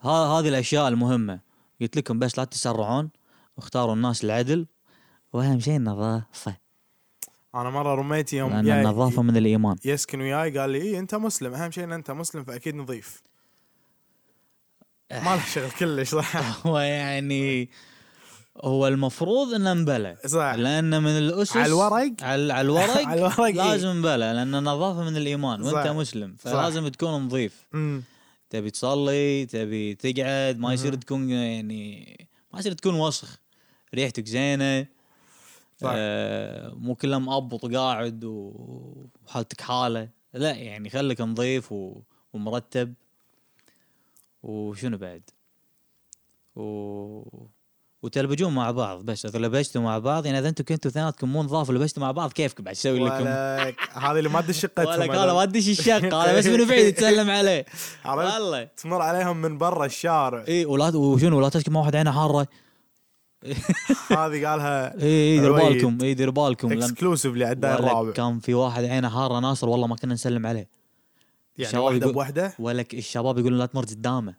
Speaker 1: ها- هذه الاشياء المهمه قلت لكم بس لا تسرعون واختاروا الناس العدل واهم شيء النظافه
Speaker 2: انا مره رميتي يوم
Speaker 1: لان
Speaker 2: جاي
Speaker 1: النظافه من [LAUGHS] الايمان
Speaker 2: يسكن وياي قال لي إيه انت مسلم اهم شيء ان انت مسلم فاكيد نظيف
Speaker 1: إيه.
Speaker 2: ما له شغل كلش
Speaker 1: [LAUGHS]
Speaker 2: صح
Speaker 1: هو يعني هو المفروض انه مبلى
Speaker 2: صح
Speaker 1: لان من الاسس
Speaker 2: على الورق؟
Speaker 1: على
Speaker 2: [LAUGHS]
Speaker 1: على الورق
Speaker 2: على الورق، إيه.
Speaker 1: لازم مبلى لان النظافه من الايمان وانت
Speaker 2: صح.
Speaker 1: مسلم فلازم تكون نظيف
Speaker 2: مم.
Speaker 1: تبي تصلي تبي تقعد ما يصير تكون يعني ما يصير تكون وسخ ريحتك زينه
Speaker 2: صح.
Speaker 1: آه مو كله مقبط قاعد و- وحالتك حاله لا يعني خليك نظيف و... ومرتب وشنو بعد و وتلبجون مع بعض بس اذا لبجتوا مع بعض يعني اذا انتم كنتوا اثنيناتكم مو نظاف ولبجتوا مع بعض كيفكم بعد يسوي لكم
Speaker 2: ولك هذه اللي ما تدش
Speaker 1: ولك انا ما
Speaker 2: شقتهم
Speaker 1: ادش الشقه انا بس من بعيد اتسلم عليه
Speaker 2: [LAUGHS] عرفت؟
Speaker 1: والله
Speaker 2: تمر عليهم من برا الشارع
Speaker 1: اي إيه، ولا وشنو ولا تشكي ما واحد عينه حاره إيه.
Speaker 2: هذه قالها
Speaker 1: اي اي إيه، دير
Speaker 2: عويد.
Speaker 1: بالكم اي دير بالكم لأن-
Speaker 2: اكسكلوسيف للداير
Speaker 1: ولك
Speaker 2: الرابع
Speaker 1: كان في واحد عينه حاره ناصر والله ما كنا نسلم عليه
Speaker 2: يعني
Speaker 1: شباب
Speaker 2: واحده
Speaker 1: يقول-
Speaker 2: بوحده
Speaker 1: ولك الشباب يقولون لا تمر قدامه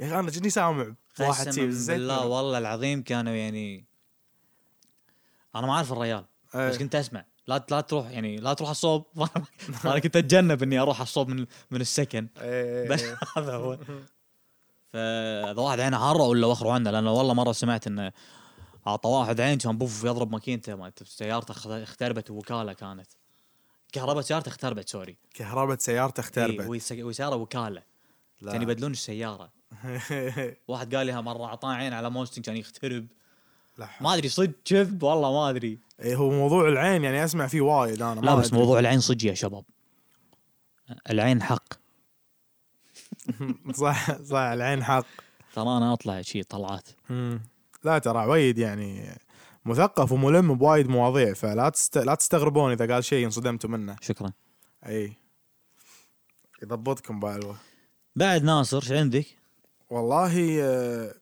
Speaker 2: يا اخي انا جني سامع واحد
Speaker 1: قسما
Speaker 2: سيب زين
Speaker 1: بالله والله العظيم كانوا يعني انا ما اعرف الريال
Speaker 2: إيه.
Speaker 1: بس كنت اسمع لا لا تروح يعني لا تروح على الصوب [LAUGHS] انا كنت اتجنب اني اروح على الصوب من من السكن
Speaker 2: إيه.
Speaker 1: بس [LAUGHS] هذا هو فاذا إيه. واحد عينه حاره ولا وخروا عنه لانه والله مره سمعت انه اعطى واحد عين كان بوف يضرب ماكينته مالته سيارته اخت- اختربت وكاله كانت كهرباء سيارته اختربت سوري
Speaker 2: كهرباء سيارته
Speaker 1: إيه،
Speaker 2: اختربت
Speaker 1: ويس- وسياره وكاله
Speaker 2: لا.
Speaker 1: كانوا يبدلون السياره واحد قال لها مره اعطاه عين على موستنج كان يخترب
Speaker 2: [LAUGHS] لا
Speaker 1: ما ادري صدق كذب والله ما ادري
Speaker 2: إيه، هو موضوع العين يعني اسمع فيه وايد انا
Speaker 1: لا
Speaker 2: ما
Speaker 1: بس
Speaker 2: أدري.
Speaker 1: موضوع العين صدق يا شباب العين حق
Speaker 2: [LAUGHS] صح صح العين حق
Speaker 1: ترى انا اطلع شيء طلعات
Speaker 2: مم. لا ترى عويد يعني مثقف وملم بوايد مواضيع فلا تست... لا تستغربون اذا قال شيء انصدمتوا منه
Speaker 1: شكرا
Speaker 2: اي يضبطكم بالوه
Speaker 1: بعد ناصر ايش عندك؟
Speaker 2: والله آه،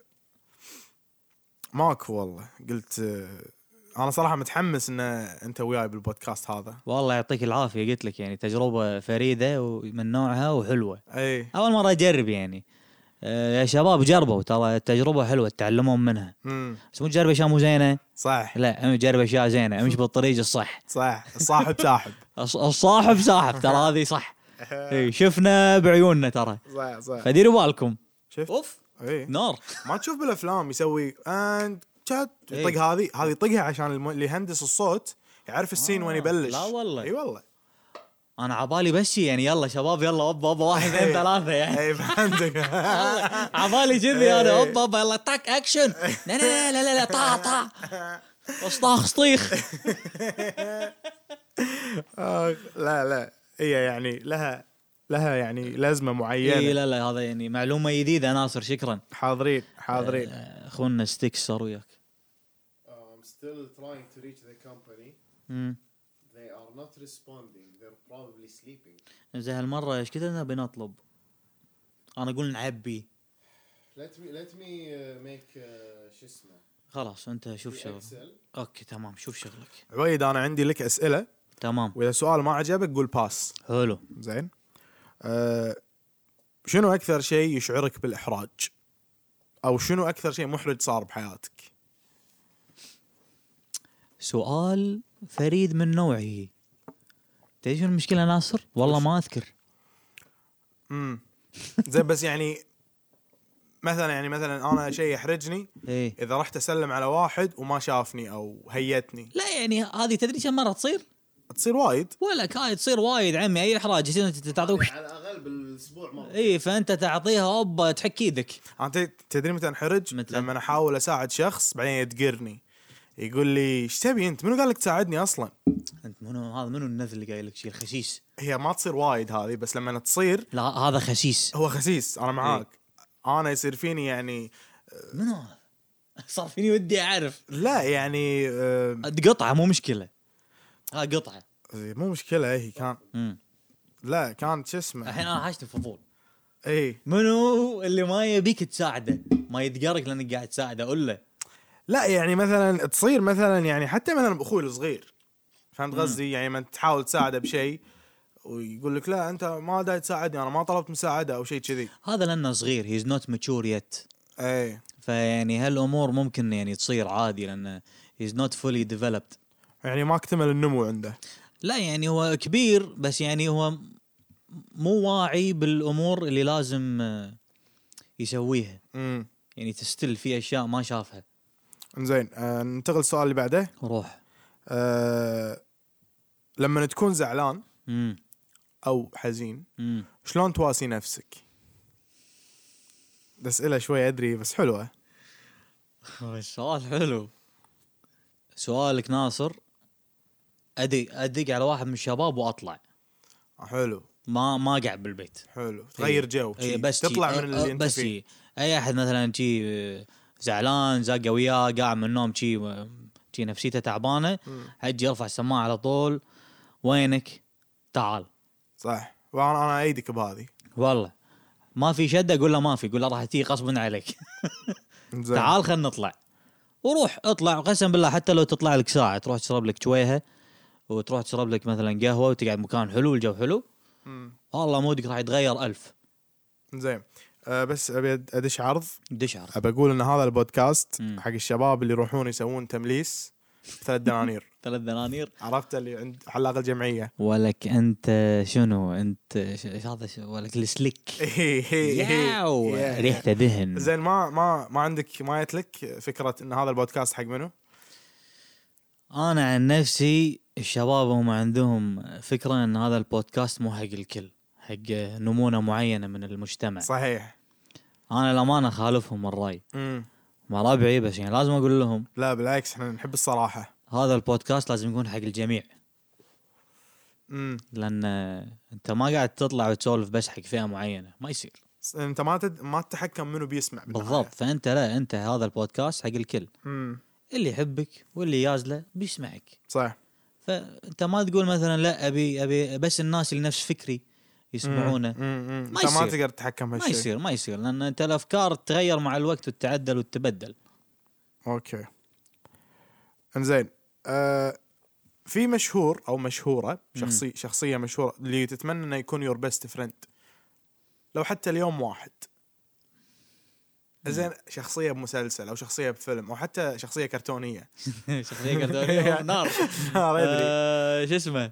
Speaker 2: ماكو والله قلت آه، انا صراحه متحمس ان انت وياي بالبودكاست هذا
Speaker 1: والله يعطيك العافيه قلت لك يعني تجربه فريده ومن نوعها وحلوه
Speaker 2: اي
Speaker 1: اول مره اجرب يعني أه، يا شباب جربوا ترى التجربه حلوه تتعلمون منها
Speaker 2: امم
Speaker 1: بس مو تجرب اشياء مو زينه
Speaker 2: صح
Speaker 1: لا جرب اشياء زينه امشي بالطريق الصح
Speaker 2: صح صاحب ساحب
Speaker 1: [LAUGHS] الص- الصاحب ساحب ترى هذه صح إي، شفنا بعيوننا ترى
Speaker 2: صح صح
Speaker 1: فديروا بالكم
Speaker 2: شفت
Speaker 1: اوف
Speaker 2: اي
Speaker 1: نار
Speaker 2: ما تشوف بالافلام يسوي اند شات
Speaker 1: إيه.
Speaker 2: يطق هذه هذه يطقها عشان الم... اللي يهندس الصوت يعرف السين وين
Speaker 1: آه،
Speaker 2: يبلش
Speaker 1: لا والله.
Speaker 2: اي والله
Speaker 1: انا عبالي بس يعني يلا شباب يلا ابا ابا واحد اثنين ثلاثه
Speaker 2: [LAUGHS]
Speaker 1: يعني [LAUGHS]
Speaker 2: اي فهمتك
Speaker 1: عبالي كذي انا ابا ابا يلا تاك اكشن لا لا لا لا لا, لا طا طا اسطاخ سطيخ
Speaker 2: آه، لا لا هي يعني لها لها يعني لازمه معينه
Speaker 1: اي لا لا هذا يعني معلومه جديده ناصر شكرا
Speaker 2: حاضرين حاضرين
Speaker 1: آه، اخونا ستيكس صار وياك
Speaker 4: I'm Um, still trying to reach the company.
Speaker 1: أمم.
Speaker 4: They are not responding. They're probably sleeping.
Speaker 1: زين هالمره ايش كذا نبي نطلب؟ انا اقول نعبي
Speaker 4: Let me let me uh, make uh, شو اسمه
Speaker 1: خلاص انت شوف
Speaker 4: في
Speaker 1: شغلك
Speaker 4: Excel.
Speaker 1: اوكي تمام شوف شغلك
Speaker 2: عبيد انا عندي لك اسئله
Speaker 1: تمام
Speaker 2: واذا سؤال ما عجبك قول باس
Speaker 1: حلو
Speaker 2: زين أه شنو اكثر شيء يشعرك بالاحراج او شنو اكثر شيء محرج صار بحياتك
Speaker 1: سؤال فريد من نوعه تدري شنو المشكله ناصر؟ والله ما اذكر
Speaker 2: امم زين بس يعني مثلا يعني مثلا انا شيء يحرجني
Speaker 1: ايه
Speaker 2: اذا رحت اسلم على واحد وما شافني او هيتني
Speaker 1: لا يعني هذه تدري كم مره تصير؟
Speaker 2: تصير وايد
Speaker 1: ولا كاي تصير وايد عمي اي احراج يصير انت تعطيه
Speaker 4: يعني على الاقل بالاسبوع مره
Speaker 1: اي فانت إيه، تعطيها اوبا تحك ايدك
Speaker 2: انا ت- تدري متى انحرج؟
Speaker 1: متى؟
Speaker 2: لما أنا احاول اساعد شخص بعدين يدقرني يقول لي ايش تبي انت؟ منو قال لك تساعدني اصلا؟
Speaker 1: انت منو هذا منو النذل اللي قايل لك شيء الخسيس
Speaker 2: هي ما تصير وايد هذه بس لما تصير
Speaker 1: لا هذا خسيس
Speaker 2: هو خسيس
Speaker 1: إيه.
Speaker 2: انا معاك انا يصير فيني يعني
Speaker 1: منو [LAUGHS] هذا؟ صار فيني ودي اعرف
Speaker 2: لا يعني آه،
Speaker 1: قطعه مو مشكله ها قطعه
Speaker 2: مو مشكله هي كان
Speaker 1: مم.
Speaker 2: لا كانت شو اسمه إيه.
Speaker 1: الحين انا حاجتي فضول
Speaker 2: اي
Speaker 1: منو اللي ما يبيك تساعده ما يتقرك لانك قاعد تساعده قول له
Speaker 2: لا يعني مثلا تصير مثلا يعني حتى مثلا باخوي الصغير فهمت قصدي يعني من تحاول تساعده بشيء ويقول لك لا انت ما داعي تساعدني انا ما طلبت مساعده او شيء كذي إيه.
Speaker 1: هذا لانه صغير هيز نوت ماتشور يت إيه.
Speaker 2: اي
Speaker 1: فيعني هالامور ممكن يعني تصير عادي لانه هيز نوت فولي ديفلوبد
Speaker 2: يعني ما اكتمل النمو عنده
Speaker 1: لا يعني هو كبير بس يعني هو م- مو واعي بالامور اللي لازم آه، يسويها
Speaker 2: امم
Speaker 1: يعني تستل في اشياء ما شافها
Speaker 2: زين آه ننتقل للسؤال اللي بعده
Speaker 1: روح
Speaker 2: آه لما تكون زعلان
Speaker 1: امم
Speaker 2: او حزين
Speaker 1: امم
Speaker 2: شلون تواسي نفسك؟ اسئله شوي ادري بس حلوه
Speaker 1: طيب، سؤال حلو سؤالك ناصر ادق ادق على واحد من الشباب واطلع
Speaker 2: آه، حلو
Speaker 1: ما ما قاعد بالبيت
Speaker 2: حلو تغير جو
Speaker 1: اي
Speaker 2: شي.
Speaker 1: إيه، بس
Speaker 2: تطلع
Speaker 1: شي.
Speaker 2: من
Speaker 1: أه،
Speaker 2: اللي انت
Speaker 1: بس
Speaker 2: فيه
Speaker 1: شي. اي احد مثلا شي أه، زعلان زاقه وياه قاعد من النوم شي شي نفسيته تعبانه حجي ارفع السماعه على طول وينك تعال
Speaker 2: صح وانا انا ايدك بهذه
Speaker 1: والله ما في شده قول له ما في قول له راح تيجي غصب عليك
Speaker 2: زين.
Speaker 1: تعال خلينا نطلع وروح اطلع قسم بالله حتى لو تطلع لك ساعه تروح تشرب لك شويهه وتروح تشرب لك مثلا قهوه وتقعد مكان حلو والجو حلو
Speaker 2: مم.
Speaker 1: والله مودك راح يتغير ألف
Speaker 2: زين أه بس ابي ادش عرض
Speaker 1: دش عرض
Speaker 2: ابى اقول ان هذا البودكاست
Speaker 1: مم.
Speaker 2: حق الشباب اللي يروحون يسوون تمليس بثلاث
Speaker 1: [LAUGHS]
Speaker 2: دنانير
Speaker 1: ثلاث دنانير
Speaker 2: عرفت اللي عند حلاق الجمعيه
Speaker 1: ولك انت شنو انت ش- ايش هذا ش- ولك السلك
Speaker 2: إيه،
Speaker 1: ياو
Speaker 2: يا.
Speaker 1: ريحته دهن
Speaker 2: إيه، زين ما ما ما عندك ما جت لك فكره ان هذا البودكاست حق منو؟
Speaker 1: انا عن نفسي الشباب هم عندهم فكره ان هذا البودكاست مو حق الكل حق نمونه معينه من المجتمع
Speaker 2: صحيح
Speaker 1: انا الامانه خالفهم الراي
Speaker 2: مم.
Speaker 1: ما ربعي بس يعني لازم اقول لهم
Speaker 2: لا بالعكس احنا نحب الصراحه
Speaker 1: هذا البودكاست لازم يكون حق الجميع
Speaker 2: مم.
Speaker 1: لان انت ما قاعد تطلع وتسولف بس حق فئه معينه ما يصير
Speaker 2: س- انت ما تد... ما تتحكم منو بيسمع بالنهاية.
Speaker 1: بالضبط فانت لا انت هذا البودكاست حق الكل
Speaker 2: مم.
Speaker 1: اللي يحبك واللي يازله بيسمعك
Speaker 2: صح
Speaker 1: فانت ما تقول مثلا لا ابي ابي بس الناس اللي نفس فكري يسمعونه
Speaker 2: ما
Speaker 1: ما
Speaker 2: انت ما
Speaker 1: يصير.
Speaker 2: تقدر تتحكم
Speaker 1: ما
Speaker 2: بهالشيء
Speaker 1: يصير ما يصير لان انت الافكار تتغير مع الوقت وتتعدل وتتبدل
Speaker 2: اوكي انزين آه في مشهور او مشهوره شخصي شخصيه مشهوره اللي تتمنى انه يكون يور بيست فريند لو حتى اليوم واحد زين شخصيه بمسلسل او شخصيه بفيلم او حتى شخصيه كرتونيه
Speaker 1: شخصيه كرتونية نار
Speaker 2: [LAUGHS] ما ادري
Speaker 1: آه، شو اسمه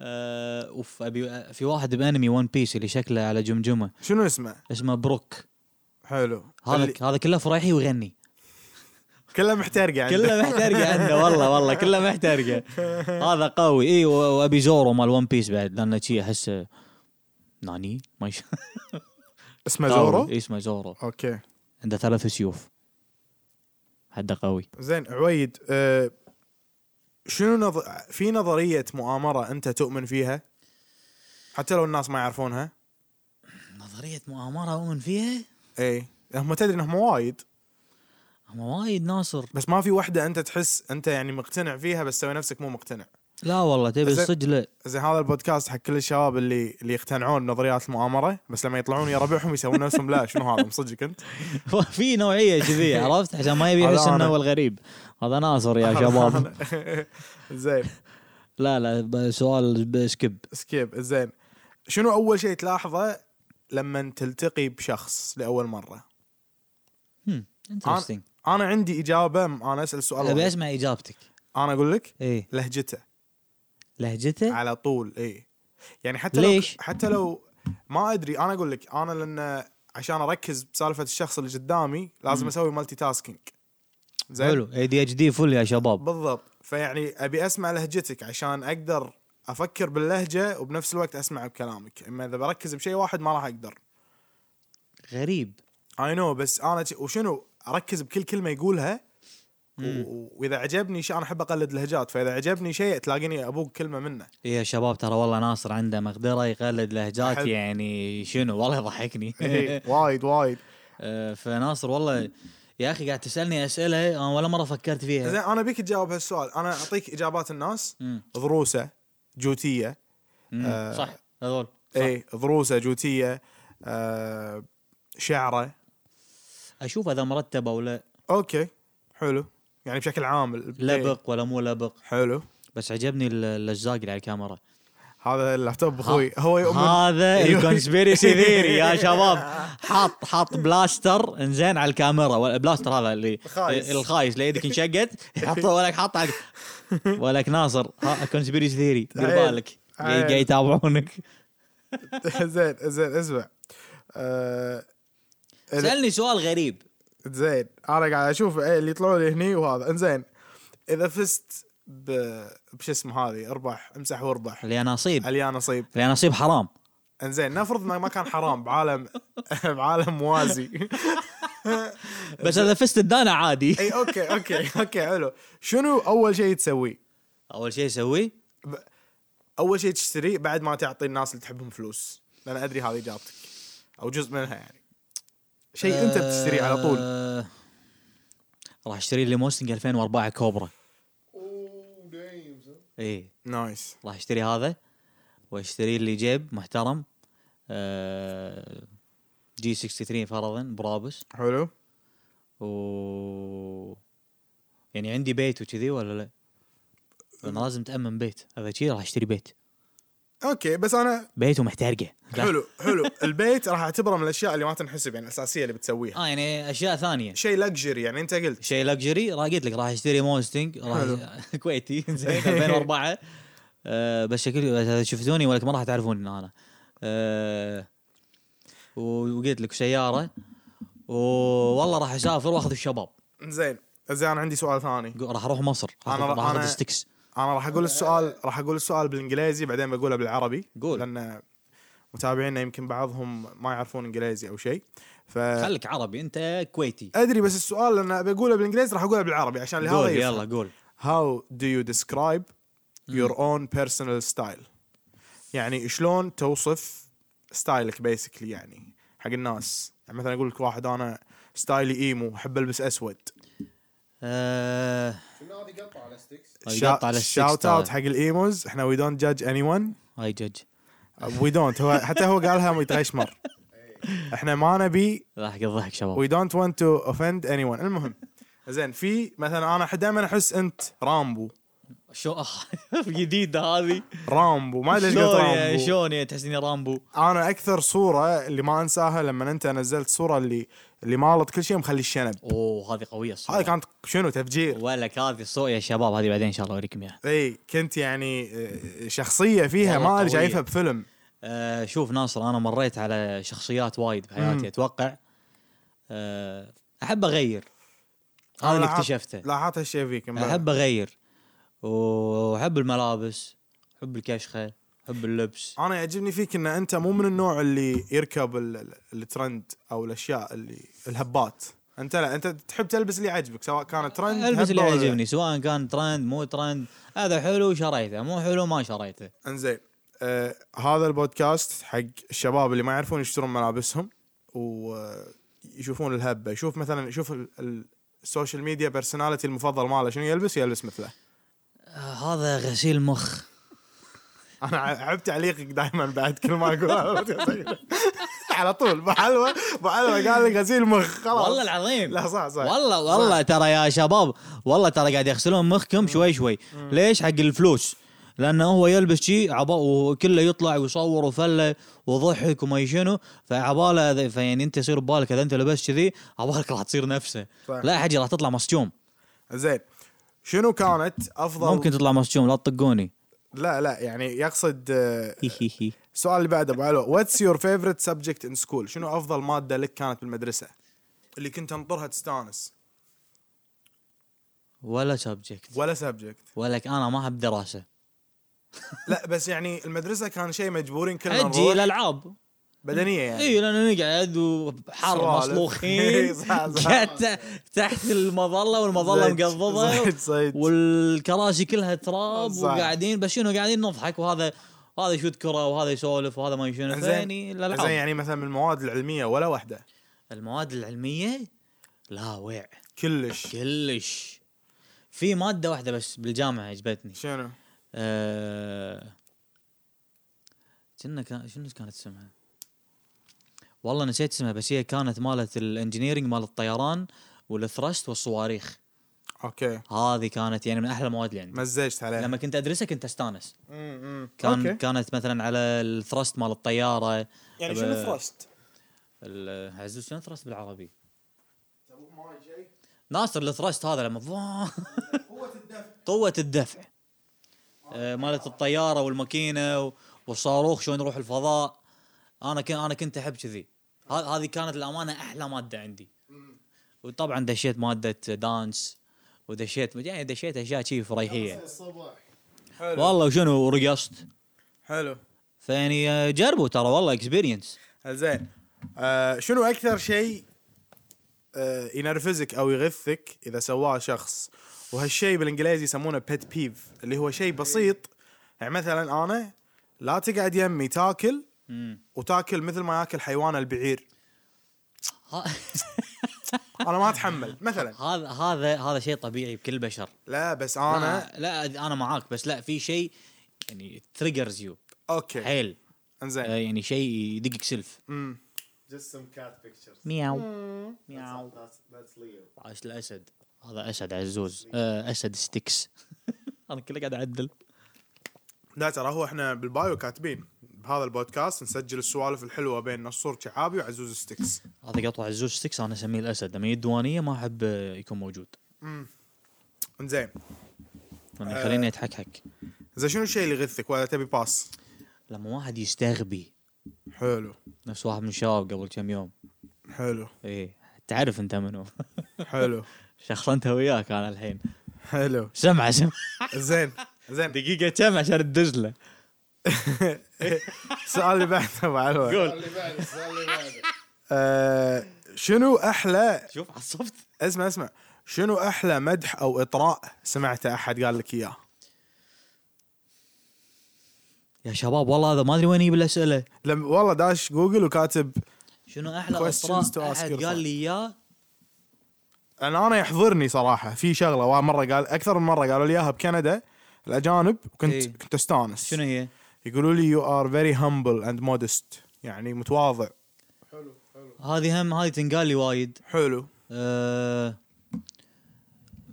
Speaker 1: آه، اوف ابي في واحد بانمي ون بيس اللي شكله على جمجمه
Speaker 2: شنو اسمه
Speaker 1: اسمه بروك
Speaker 2: حلو
Speaker 1: هذا
Speaker 2: اللي-
Speaker 1: هذا كله فرايحي
Speaker 2: [LAUGHS]
Speaker 1: ويغني
Speaker 2: كله يعني. محترق عنده
Speaker 1: كله محترقه عنده والله والله كله محترقه هذا قوي اي و- وابي زورو مال ون بيس بعد لانه شي احسه ناني ما يش...
Speaker 2: [LAUGHS] اسمه زورو
Speaker 1: قوي، إي اسمه زورو
Speaker 2: اوكي
Speaker 1: عنده ثلاث سيوف حده قوي
Speaker 2: زين عويد آه شنو نظ... في نظريه مؤامره انت تؤمن فيها حتى لو الناس ما يعرفونها
Speaker 1: نظريه مؤامره اؤمن فيها
Speaker 2: اي إيه. هم تدري انهم وايد
Speaker 1: هم وايد ناصر
Speaker 2: بس ما في وحده انت تحس انت يعني مقتنع فيها بس تسوي نفسك مو مقتنع
Speaker 1: لا والله تبي
Speaker 2: زين.
Speaker 1: الصج لا
Speaker 2: زين هذا البودكاست حق كل الشباب اللي اللي يقتنعون بنظريات المؤامره بس لما يطلعون يا ربعهم يسوون نفسهم لا شنو هذا مصدقك انت
Speaker 1: [LAUGHS] في نوعيه
Speaker 2: [LAUGHS]
Speaker 1: كذي عرفت عشان ما يبي
Speaker 2: هذا
Speaker 1: يحس انه
Speaker 2: أنا.
Speaker 1: هو الغريب هذا ناصر يا شباب
Speaker 2: [LAUGHS] زين
Speaker 1: لا لا ب- سؤال ب- سكيب
Speaker 2: سكيب زين شنو اول شيء تلاحظه لما تلتقي بشخص لاول مره
Speaker 1: انترستنج
Speaker 2: انا عندي اجابه انا اسال سؤال
Speaker 1: ابي
Speaker 2: واحد.
Speaker 1: اسمع اجابتك
Speaker 2: انا اقول لك
Speaker 1: ايه
Speaker 2: لهجته
Speaker 1: لهجته
Speaker 2: على طول اي يعني حتى لو
Speaker 1: ليش؟
Speaker 2: حتى لو ما ادري انا اقول لك انا لان عشان اركز بسالفه الشخص اللي قدامي لازم اسوي مالتي تاسكينج زين
Speaker 1: حلو اي دي اتش دي فل يا شباب
Speaker 2: بالضبط فيعني ابي اسمع لهجتك عشان اقدر افكر باللهجه وبنفس الوقت اسمع بكلامك اما اذا بركز بشيء واحد ما راح اقدر
Speaker 1: غريب
Speaker 2: اي نو بس انا ج- وشنو اركز بكل كلمه يقولها و- و- واذا عجبني شيء انا احب اقلد لهجات فاذا عجبني شيء تلاقيني ابوق كلمه منه
Speaker 1: إيه يا شباب ترى والله ناصر عنده مقدره يقلد لهجات
Speaker 2: أحب.
Speaker 1: يعني شنو والله يضحكني
Speaker 2: [LAUGHS] إيه، وايد وايد
Speaker 1: [LAUGHS] آه، فناصر والله يا اخي قاعد تسالني اسئله انا ولا مره فكرت فيها
Speaker 2: زين انا بيك تجاوب هالسؤال انا اعطيك اجابات الناس
Speaker 1: إيه. مم.
Speaker 2: ضروسه جوتيه
Speaker 1: مم،
Speaker 2: آه،
Speaker 1: صح هذول صح.
Speaker 2: اي ضروسه جوتيه إيه، آه شعره
Speaker 1: اشوف اذا مرتب او لا
Speaker 2: إيه. اوكي حلو يعني بشكل عام ال- إيه،
Speaker 1: لبق ولا مو لبق
Speaker 2: حلو
Speaker 1: بس عجبني ال- اللزاق اللي على الكاميرا
Speaker 2: هذا اللابتوب اخوي هو يؤمن
Speaker 1: هذا
Speaker 2: أيوه. [LAUGHS]
Speaker 1: الكونسبيرسي ثيري يا شباب حاط حاط بلاستر انزين على الكاميرا ولا- البلاستر هذا اللي
Speaker 2: الخايس.
Speaker 1: الخايس اللي يدك انشقت
Speaker 2: [LAUGHS]
Speaker 1: حطه ولك حاط على- ولك ناصر كونسبيرسي ثيري دير
Speaker 2: عيب.
Speaker 1: بالك قاعد
Speaker 2: عيب.
Speaker 1: قاعد يتابعونك
Speaker 2: [LAUGHS] زين زين اسمع آه ال-
Speaker 1: سالني سؤال غريب
Speaker 2: زين انا قاعد اشوف إيه اللي يطلعوا لي هني وهذا انزين اذا فزت ب بش اسمه هذه اربح امسح واربح
Speaker 1: اللي اناصيب
Speaker 2: عليا نصيب
Speaker 1: اللي اناصيب حرام
Speaker 2: انزين نفرض ما ما كان حرام بعالم [LAUGHS] بعالم موازي
Speaker 1: بس اذا فزت الدانا عادي
Speaker 2: اي اوكي اوكي اوكي حلو شنو اول شيء تسويه؟
Speaker 1: اول شيء اسويه
Speaker 2: اول شيء تشتريه بعد ما تعطي الناس اللي تحبهم فلوس لان ادري أه، هذه اجابتك او جزء منها يعني شيء انت بتشتريه على طول
Speaker 1: آه، راح اشتري لي موستنج 2004 كوبرا إيه.
Speaker 4: اوه دايم صح؟
Speaker 1: اي
Speaker 2: نايس
Speaker 1: راح اشتري هذا واشتري لي جيب محترم آه جي 63 فرضا برابس
Speaker 2: حلو
Speaker 1: و يعني عندي بيت وكذي ولا لا؟ انا لازم تامن بيت هذا شي راح اشتري بيت
Speaker 2: اوكي بس انا
Speaker 1: بيت ومحترقه لا.
Speaker 2: حلو [LAUGHS] حلو البيت راح اعتبره من الاشياء اللي ما تنحسب يعني الاساسيه اللي بتسويها
Speaker 1: اه يعني اشياء ثانيه
Speaker 2: شيء لكجري يعني انت قلت
Speaker 1: شيء لكجري راح قلت لك راح اشتري مونستنج راح [LAUGHS] كويتي زين 2004 آه بس شكلي بس إذا شفتوني ولك ما راح تعرفون ان انا آه و- وقلت لك سياره والله راح اسافر واخذ الشباب
Speaker 2: زين زين انا عندي سؤال ثاني
Speaker 1: قو- راح اروح مصر راح
Speaker 2: أنا-
Speaker 1: راح اخذ
Speaker 2: أنا-
Speaker 1: ستكس
Speaker 2: انا راح اقول السؤال راح اقول السؤال بالانجليزي بعدين بقوله بالعربي
Speaker 1: قول.
Speaker 2: لان متابعينا يمكن بعضهم ما يعرفون انجليزي او شيء ف
Speaker 1: خليك عربي انت كويتي
Speaker 2: ادري بس السؤال لان بقوله بالانجليزي راح اقوله بالعربي عشان لهذا
Speaker 1: قول
Speaker 2: يلا
Speaker 1: يلا قول
Speaker 2: how do you describe your own personal style يعني شلون توصف ستايلك بيسكلي يعني حق الناس يعني مثلا اقول لك واحد انا ستايلي ايمو احب البس اسود
Speaker 1: آه
Speaker 4: كنا هذه قطعه على ستيكس
Speaker 1: طيب، يقطع على الستيكس
Speaker 2: شاوت اوت
Speaker 1: ترى.
Speaker 2: حق الايموز احنا وي دونت جادج اني ون
Speaker 1: هاي جج
Speaker 2: وي دونت هو حتى هو قالها متغشمر احنا ما نبي
Speaker 1: راح يضحك شباب
Speaker 2: وي دونت ونت تو اوفند اني ون المهم زين في مثلا انا دائما احس انت رامبو
Speaker 1: شو [LAUGHS] أخ، جديده هذه
Speaker 2: رامبو ما ادري ليش قلت
Speaker 1: شلون يا-
Speaker 2: رامبو
Speaker 1: شلون يا تحس اني رامبو
Speaker 2: انا اكثر صوره اللي ما انساها لما انت نزلت صوره اللي اللي مالت كل شيء مخلي الشنب
Speaker 1: اوه هذه قويه الصراحه
Speaker 2: هذه كانت شنو تفجير
Speaker 1: ولك هذه الصوت يا شباب هذه بعدين ان شاء الله اوريكم اياها
Speaker 2: اي كنت يعني آه، شخصيه فيها
Speaker 1: والله
Speaker 2: ما انا
Speaker 1: قوية.
Speaker 2: شايفها بفيلم
Speaker 1: أه شوف ناصر انا مريت على شخصيات وايد بحياتي اتوقع أه احب اغير هذا اللي
Speaker 2: لاحظت-
Speaker 1: اكتشفته
Speaker 2: لاحظت هالشيء فيك مبارك.
Speaker 1: احب اغير واحب الملابس احب الكشخه احب اللبس
Speaker 2: انا يعجبني فيك ان انت مو من النوع اللي يركب ال- ال- الترند او الاشياء اللي الهبات انت لا انت تحب تلبس اللي يعجبك سواء كان ترند
Speaker 1: البس اللي
Speaker 2: هبة ولا-
Speaker 1: يعجبني سواء كان ترند مو ترند هذا حلو شريته مو حلو ما شريته
Speaker 2: انزين آه هذا البودكاست حق الشباب اللي ما يعرفون يشترون ملابسهم ويشوفون الهبه يشوف مثلا يشوف ال- ال- السوشيال ميديا بيرسوناليتي المفضل ماله شنو يلبس يلبس مثله
Speaker 1: آه، هذا غسيل مخ
Speaker 2: انا ع- عب تعليقك دائما بعد كل ما اقول [LAUGHS] على طول بحلوه بحلوه قال لي غسيل مخ خلاص
Speaker 1: والله العظيم
Speaker 2: لا صح صح
Speaker 1: والله والله ترى يا شباب والله ترى قاعد يغسلون مخكم شوي شوي ليش حق الفلوس لانه هو يلبس شي عبا وكله يطلع ويصور وفله وضحك وما شنو فعباله هذا- فيعني انت يصير ببالك اذا انت لبست كذي عبالك راح تصير نفسه
Speaker 2: صح.
Speaker 1: لا حجي راح تطلع مصجوم
Speaker 2: زين شنو كانت افضل
Speaker 1: ممكن تطلع مصجوم لا
Speaker 2: [LAUGHS]
Speaker 1: تطقوني
Speaker 2: لا لا يعني يقصد آه، السؤال اللي بعده ابو علو واتس يور فيفرت سبجكت ان سكول شنو افضل ماده لك كانت بالمدرسه اللي كنت انطرها تستانس
Speaker 1: ولا سبجكت
Speaker 2: ولا سبجكت
Speaker 1: ولك انا ما احب دراسه
Speaker 2: لا بس يعني المدرسه كان شيء مجبورين كلنا
Speaker 1: اجي
Speaker 2: نروح
Speaker 1: الالعاب
Speaker 2: بدنيه يعني
Speaker 1: اي لان نقعد وحر
Speaker 2: سوالف. إي،
Speaker 1: مصلوخين
Speaker 2: [LAUGHS] صح، صح.
Speaker 1: قاعد تحت المظله والمظله
Speaker 2: زيد-
Speaker 1: مقضبه
Speaker 2: زيد- زيد.
Speaker 1: والكراسي كلها تراب
Speaker 2: صح.
Speaker 1: وقاعدين بس شنو قاعدين نضحك وهذا هذا يشوت كره وهذا يسولف وهذا ما شنو يعني
Speaker 2: زين
Speaker 1: الالعاب
Speaker 2: يعني مثلا من المواد العلميه ولا واحده
Speaker 1: المواد العلميه لا وع
Speaker 2: كلش
Speaker 1: كلش في ماده واحده بس بالجامعه عجبتني
Speaker 2: شنو؟
Speaker 1: آه، كنا كان شنو كانت اسمها؟ والله نسيت اسمها بس هي كانت مالت الانجنييرنج مال الطيران والثرست والصواريخ
Speaker 2: اوكي
Speaker 1: هذه كانت يعني من احلى المواد اللي عندي
Speaker 2: مزجت عليها
Speaker 1: لما كنت ادرسها كنت استانس
Speaker 2: م- م.
Speaker 1: كان
Speaker 2: أوكي.
Speaker 1: كانت مثلا على الثرست مال الطياره
Speaker 2: يعني
Speaker 1: ب-
Speaker 2: شنو ثرست؟
Speaker 1: ال- عزوز شنو ثرست بالعربي؟ ناصر الثرست هذا لما [LAUGHS] قوة الدفع قوة الدفع آه، مالت الطيارة والماكينة و- والصاروخ شلون يروح الفضاء انا كنت انا كنت احب كذي ه- هذه كانت الامانة احلى مادة عندي وطبعا دشيت مادة دانس ودشيت يعني دشيت اشياء شي [LAUGHS] فريحية
Speaker 4: الصباح
Speaker 2: حلو
Speaker 1: والله وشنو ورقصت
Speaker 2: حلو
Speaker 1: فيعني آه، جربوا ترى والله اكسبيرينس
Speaker 2: زين آه شنو اكثر شيء آه ينرفزك او يغثك اذا سواه شخص وهالشيء بالانجليزي يسمونه بيت بيف اللي هو شيء بسيط يعني مثلا انا لا تقعد يمي تاكل وتاكل مثل ما ياكل حيوان البعير انا ما اتحمل مثلا
Speaker 1: [LAUGHS] هذا هذا هذا شيء طبيعي بكل البشر
Speaker 2: لا
Speaker 1: [LAUGHS]
Speaker 2: بس انا
Speaker 1: لا, لا انا معاك بس لا في شيء يعني تريجرز يو
Speaker 2: اوكي
Speaker 1: حيل آه،
Speaker 2: انزين
Speaker 1: يعني شيء يدقك سلف
Speaker 2: أمم.
Speaker 4: just some cat pictures
Speaker 1: مياو
Speaker 4: that's, that's, that's Leo
Speaker 1: عاش الاسد هذا اسد عزوز آه، اسد ستيكس [LAUGHS] انا كله قاعد اعدل
Speaker 2: لا ترى هو احنا بالبايو كاتبين بهذا البودكاست نسجل السوالف الحلوه بين نصور شعابي وعزوز ستيكس
Speaker 1: هذا قطوه عزوز ستيكس انا اسميه الاسد لما يجي الديوانيه ما احب آه، يكون موجود يعني
Speaker 2: انزين
Speaker 1: لما يخليني اتحكحك
Speaker 2: زين شنو الشيء اللي يغثك ولا تبي باس
Speaker 1: لما واحد يستغبي
Speaker 2: حلو
Speaker 1: نفس واحد من الشباب قبل كم يوم
Speaker 2: حلو
Speaker 1: ايه تعرف انت منو
Speaker 2: حلو
Speaker 1: شخص انت وياك انا الحين
Speaker 2: حلو
Speaker 1: سمع سمع
Speaker 2: زين زين
Speaker 1: دقيقه كم عشان تدز له
Speaker 2: السؤال اللي بعده مع الوقت
Speaker 1: قول
Speaker 3: اللي بعده السؤال اللي بعده
Speaker 4: [LAUGHS]
Speaker 2: آه، شنو احلى
Speaker 1: شوف عصبت
Speaker 2: اسمع اسمع شنو احلى مدح او اطراء سمعته احد قال لك اياه
Speaker 1: يا شباب والله هذا ما ادري وين يجيب الاسئله
Speaker 2: لما والله داش جوجل وكاتب
Speaker 1: شنو احلى
Speaker 2: Questions to
Speaker 1: اطراء
Speaker 2: ask
Speaker 1: احد
Speaker 2: yourself.
Speaker 1: قال لي اياه
Speaker 2: انا انا يحضرني صراحه في شغله وا- مره قال اكثر من مره قالوا لي اياها بكندا الاجانب كنت
Speaker 1: إيه.
Speaker 2: كنت استانس
Speaker 1: شنو هي؟
Speaker 2: يقولوا لي يو ار فيري هامبل اند مودست يعني متواضع
Speaker 3: حلو حلو
Speaker 1: هذه هم هذه تنقال لي وايد
Speaker 2: حلو
Speaker 1: أه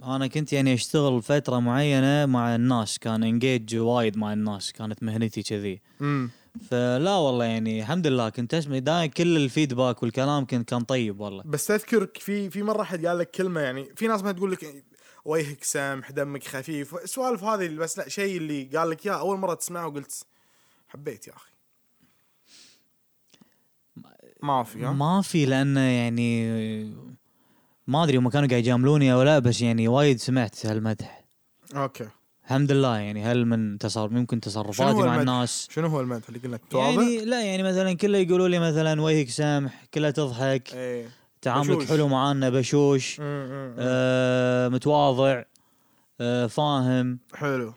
Speaker 1: انا كنت يعني اشتغل فتره معينه مع الناس كان انجيج وايد مع الناس كانت مهنتي كذي
Speaker 2: امم
Speaker 1: فلا والله يعني الحمد لله كنت اسمع دائما كل الفيدباك والكلام كان كان طيب والله
Speaker 2: بس تذكر في في مره حد قال لك كلمه يعني في ناس ما تقول لك وجهك سمح دمك خفيف السوالف هذه اللي بس لا شيء اللي قال لك اياه اول مره تسمعه وقلت حبيت يا اخي ما في ها
Speaker 1: ما في لانه يعني ما ادري هم كانوا قاعد يجاملوني او لا بس يعني وايد سمعت هالمدح
Speaker 2: اوكي
Speaker 1: الحمد لله يعني هل من تصرف ممكن تصرفاتي مع
Speaker 2: المدح؟
Speaker 1: الناس
Speaker 2: شنو هو المدح اللي قلنا متواضع
Speaker 1: يعني لا يعني مثلا كله يقولوا لي مثلا وجهك سامح كله تضحك
Speaker 2: ايه
Speaker 1: تعاملك
Speaker 2: بشوش.
Speaker 1: حلو معانا بشوش
Speaker 2: أمم، أمم.
Speaker 1: آه متواضع آه فاهم
Speaker 2: حلو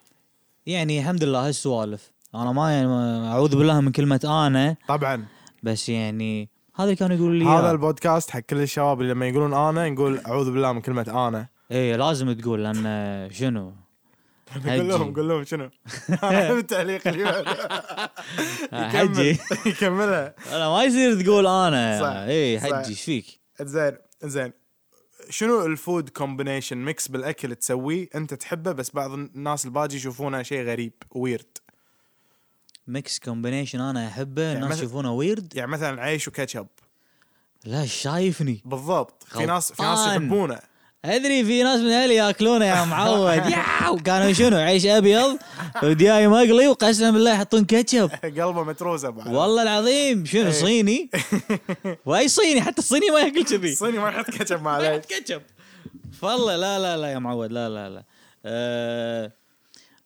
Speaker 1: يعني الحمد لله هالسوالف انا ما يعني ما- اعوذ بالله من كلمه انا
Speaker 2: طبعا
Speaker 1: بس يعني هذا اللي كانوا يقولوا لي
Speaker 2: هذا
Speaker 1: هذا
Speaker 2: البودكاست حق كل الشباب اللي لما يقولون انا نقول اعوذ بالله من كلمه انا
Speaker 1: ايه لازم تقول لان آه، شنو
Speaker 2: قول لهم
Speaker 1: هجي.
Speaker 2: قول لهم شنو [LAUGHS] أنا التعليق اللي بعده. [LAUGHS] يكمل-
Speaker 1: [LAUGHS] حجي
Speaker 2: يكملها
Speaker 1: انا ما يصير تقول انا
Speaker 2: صح،
Speaker 1: اي
Speaker 2: صح.
Speaker 1: حجي ايش فيك؟
Speaker 2: زين زين شنو الفود كومبينيشن ميكس بالاكل تسويه انت تحبه بس بعض الناس الباجي يشوفونه شيء غريب ويرد
Speaker 1: ميكس كومبينيشن انا احبه الناس
Speaker 2: يعني مثل-
Speaker 1: يشوفونه ويرد
Speaker 2: يعني مثلا عيش وكاتشب
Speaker 1: لا شايفني
Speaker 2: بالضبط في ناس في ناس
Speaker 1: غلطان.
Speaker 2: يحبونه [LAUGHS]
Speaker 1: ادري في ناس من اهلي ياكلونه يا معود ياو كانوا شنو عيش ابيض ودياي مقلي وقسم بالله يحطون كاتشب
Speaker 2: [LAUGHS] قلبه متروسه بعد
Speaker 1: والله العظيم
Speaker 2: إيه.
Speaker 1: شنو
Speaker 2: [LAUGHS]
Speaker 1: صيني واي صيني حتى الصيني ما ياكل كذي
Speaker 2: الصيني ما يحط كاتشب
Speaker 1: ما
Speaker 2: معليش
Speaker 1: [LAUGHS] يحط كاتشب والله لا لا لا يا معود لا لا لا أه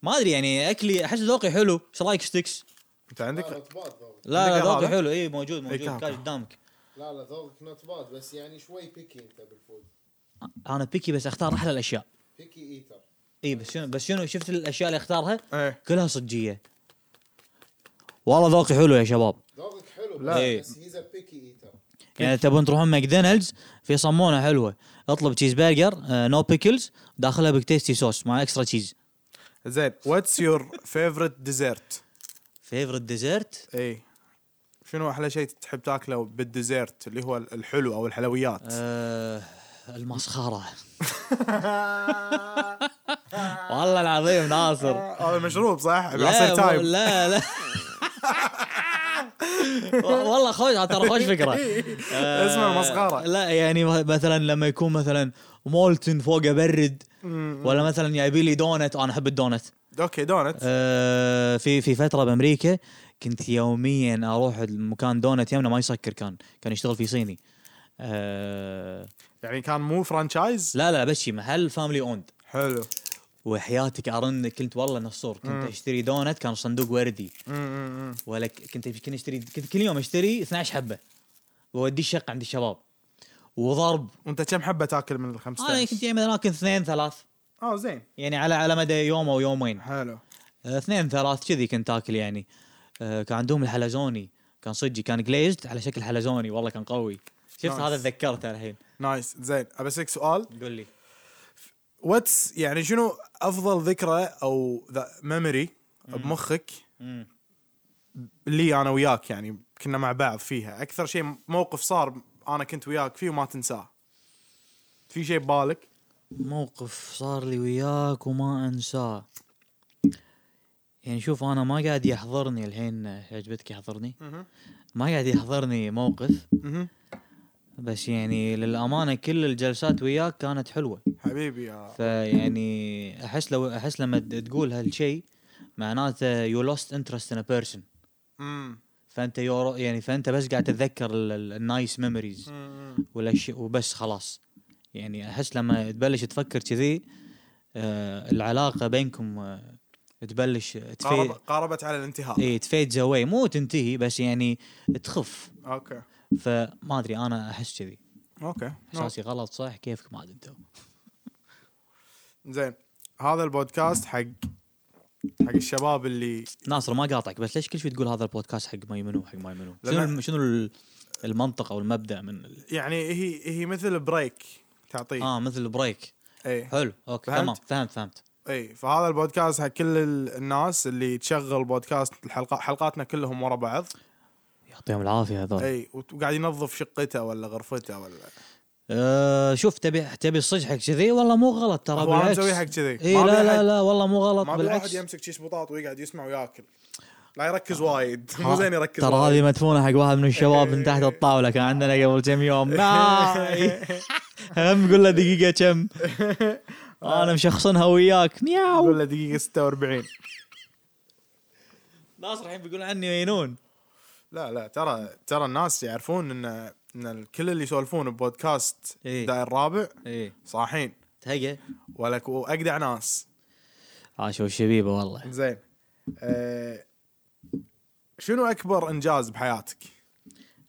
Speaker 1: ما ادري يعني اكلي احس ذوقي حلو ايش رايك ستيكس؟
Speaker 2: انت عندك
Speaker 3: نوت باد ذوق
Speaker 1: لا
Speaker 2: عندك
Speaker 1: لا ذوقي
Speaker 2: هذا؟
Speaker 1: حلو اي موجود موجود
Speaker 2: كافي.
Speaker 1: كاش قدامك
Speaker 3: لا لا ذوقك نوت باد بس يعني شوي بيكي انت بالفود
Speaker 1: انا بيكي بس اختار احلى الاشياء
Speaker 3: بيكي ايتر
Speaker 1: اي بس شنو بس شنو شفت الاشياء اللي اختارها
Speaker 2: ايه
Speaker 1: كلها صجيه والله ذوقي حلو يا شباب
Speaker 3: ذوقك حلو
Speaker 2: لا.
Speaker 1: إيه.
Speaker 3: بس هيز ا بيكي ايتر
Speaker 1: يعني تبون تروحون ماكدونالدز في صمونه حلوه اطلب تشيز برجر نو بيكلز داخلها بكتيستي صوص مع اكسترا تشيز
Speaker 2: زين واتس يور فيفورت ديزرت
Speaker 1: فيفرت ديزرت
Speaker 2: اي إيه. شنو احلى شيء تحب تاكله بالديزرت اللي هو الحلو او الحلويات
Speaker 1: آه المسخره آه. والله العظيم
Speaker 2: [LAUGHS]
Speaker 1: ناصر
Speaker 2: [LAUGHS] هذا مشروب صح؟
Speaker 1: لا
Speaker 2: بعصير
Speaker 1: مو-
Speaker 2: تايم
Speaker 1: لا لا والله خوش ترى خوش فكره آه،
Speaker 2: اسمه المسخرة.
Speaker 1: لا يعني مثلا لما يكون مثلا مولتن فوقه برد ولا مثلا يبي لي دونت انا احب الدونت
Speaker 2: اوكي دونت
Speaker 1: آه، في في فتره بامريكا كنت يوميا اروح المكان دونت يمنا ما يسكر كان كان يشتغل في صيني آه،
Speaker 2: يعني كان مو فرانشايز
Speaker 1: لا لا بس شي محل فاملي اوند
Speaker 2: حلو
Speaker 1: وحياتك ارن كنت والله نصور كنت اشتري دونت كان صندوق وردي
Speaker 2: امم
Speaker 1: ولا ك- كنت كنت اشتري كنت كل يوم اشتري 12 حبه واوديه الشقه عند الشباب وضرب
Speaker 2: وانت كم حبه تاكل من ال
Speaker 1: انا
Speaker 2: 15
Speaker 1: كنت يعني مثلا اثنين ثلاث
Speaker 2: اه زين
Speaker 1: يعني على على مدى يوم او يومين
Speaker 2: حلو
Speaker 1: آه، اثنين ثلاث كذي كنت اكل يعني آه، كان عندهم الحلزوني كان صجي كان جليزد على شكل حلزوني والله كان قوي شفت
Speaker 2: نايس.
Speaker 1: هذا تذكرته الحين
Speaker 2: نايس زين ابي اسالك سؤال
Speaker 1: قول لي
Speaker 2: واتس يعني شنو افضل ذكرى او ميموري بمخك
Speaker 1: مم.
Speaker 2: لي انا وياك يعني كنا مع بعض فيها اكثر شيء موقف صار انا كنت وياك فيه وما تنساه في شيء ببالك
Speaker 1: موقف صار لي وياك وما انساه يعني شوف انا ما قاعد يحضرني الحين عجبتك يحضرني
Speaker 2: مهم.
Speaker 1: ما قاعد يحضرني موقف
Speaker 2: مهم.
Speaker 1: بس يعني للامانه كل الجلسات وياك كانت حلوه
Speaker 2: حبيبي يا
Speaker 1: فيعني احس لو احس لما ت- تقول هالشيء معناته يو لوست انترست ان ا بيرسون
Speaker 2: مم.
Speaker 1: فانت يورو يعني فانت بس قاعد تتذكر النايس ميموريز
Speaker 2: مم.
Speaker 1: والاشياء وبس خلاص يعني احس لما تبلش تفكر كذي آه العلاقه بينكم آه تبلش
Speaker 2: قارب-
Speaker 1: تفيد
Speaker 2: قاربت على الانتهاء
Speaker 1: اي تفيد زواي مو تنتهي بس يعني تخف
Speaker 2: اوكي
Speaker 1: فما ادري انا احس كذي
Speaker 2: اوكي
Speaker 1: احساسي غلط صح كيفك ما ادري انت
Speaker 2: زين هذا البودكاست حق حق الشباب اللي
Speaker 1: ناصر ما قاطعك بس ليش كل شيء تقول هذا البودكاست حق ما يمنو حق ما يمنو شنو
Speaker 2: لأن-
Speaker 1: الم- شنو ال- المنطق او المبدا من ال-
Speaker 2: يعني هي هي مثل بريك تعطيه
Speaker 1: اه مثل بريك
Speaker 2: اي
Speaker 1: حلو اوكي
Speaker 2: إيه. فهمت؟
Speaker 1: تمام فهمت فهمت
Speaker 2: اي إيه. فهذا البودكاست حق كل ال- الناس اللي تشغل بودكاست الحلقة حلقاتنا كلهم ورا بعض
Speaker 1: يعطيهم العافيه هذول
Speaker 2: اي وت- وقاعد ينظف شقته ولا غرفته ولا
Speaker 1: آه شوف تبي تبي الصج حق كذي والله مو غلط ترى
Speaker 2: هو انا
Speaker 1: بالعكس
Speaker 2: مسوي حق كذي
Speaker 1: اي لا لا
Speaker 2: أحد-
Speaker 1: لا والله مو غلط
Speaker 2: ما بي واحد
Speaker 1: بالعكس آه.
Speaker 2: يمسك شيش بطاط ويقعد يسمع وياكل لا يركز وايد [LAUGHS] مو زين يركز
Speaker 1: ترى
Speaker 2: وايد.
Speaker 1: هذه مدفونه حق واحد من الشباب من تحت الطاوله كان عندنا قبل كم يوم
Speaker 2: [LAUGHS]
Speaker 1: ناي. هم قول له دقيقه
Speaker 2: [LAUGHS]
Speaker 1: كم انا مشخصنها وياك مياو
Speaker 2: يقول له دقيقة 46
Speaker 1: ناصر الحين بيقول عني مينون
Speaker 2: لا لا ترى ترى الناس يعرفون ان ان الكل اللي يسولفون ببودكاست
Speaker 1: إيه.
Speaker 2: داير الرابع
Speaker 1: ايه
Speaker 2: صاحين
Speaker 1: تهقى
Speaker 2: ولك واجدع ناس
Speaker 1: عاشوا الشبيبه والله
Speaker 2: زين أه شنو اكبر انجاز بحياتك؟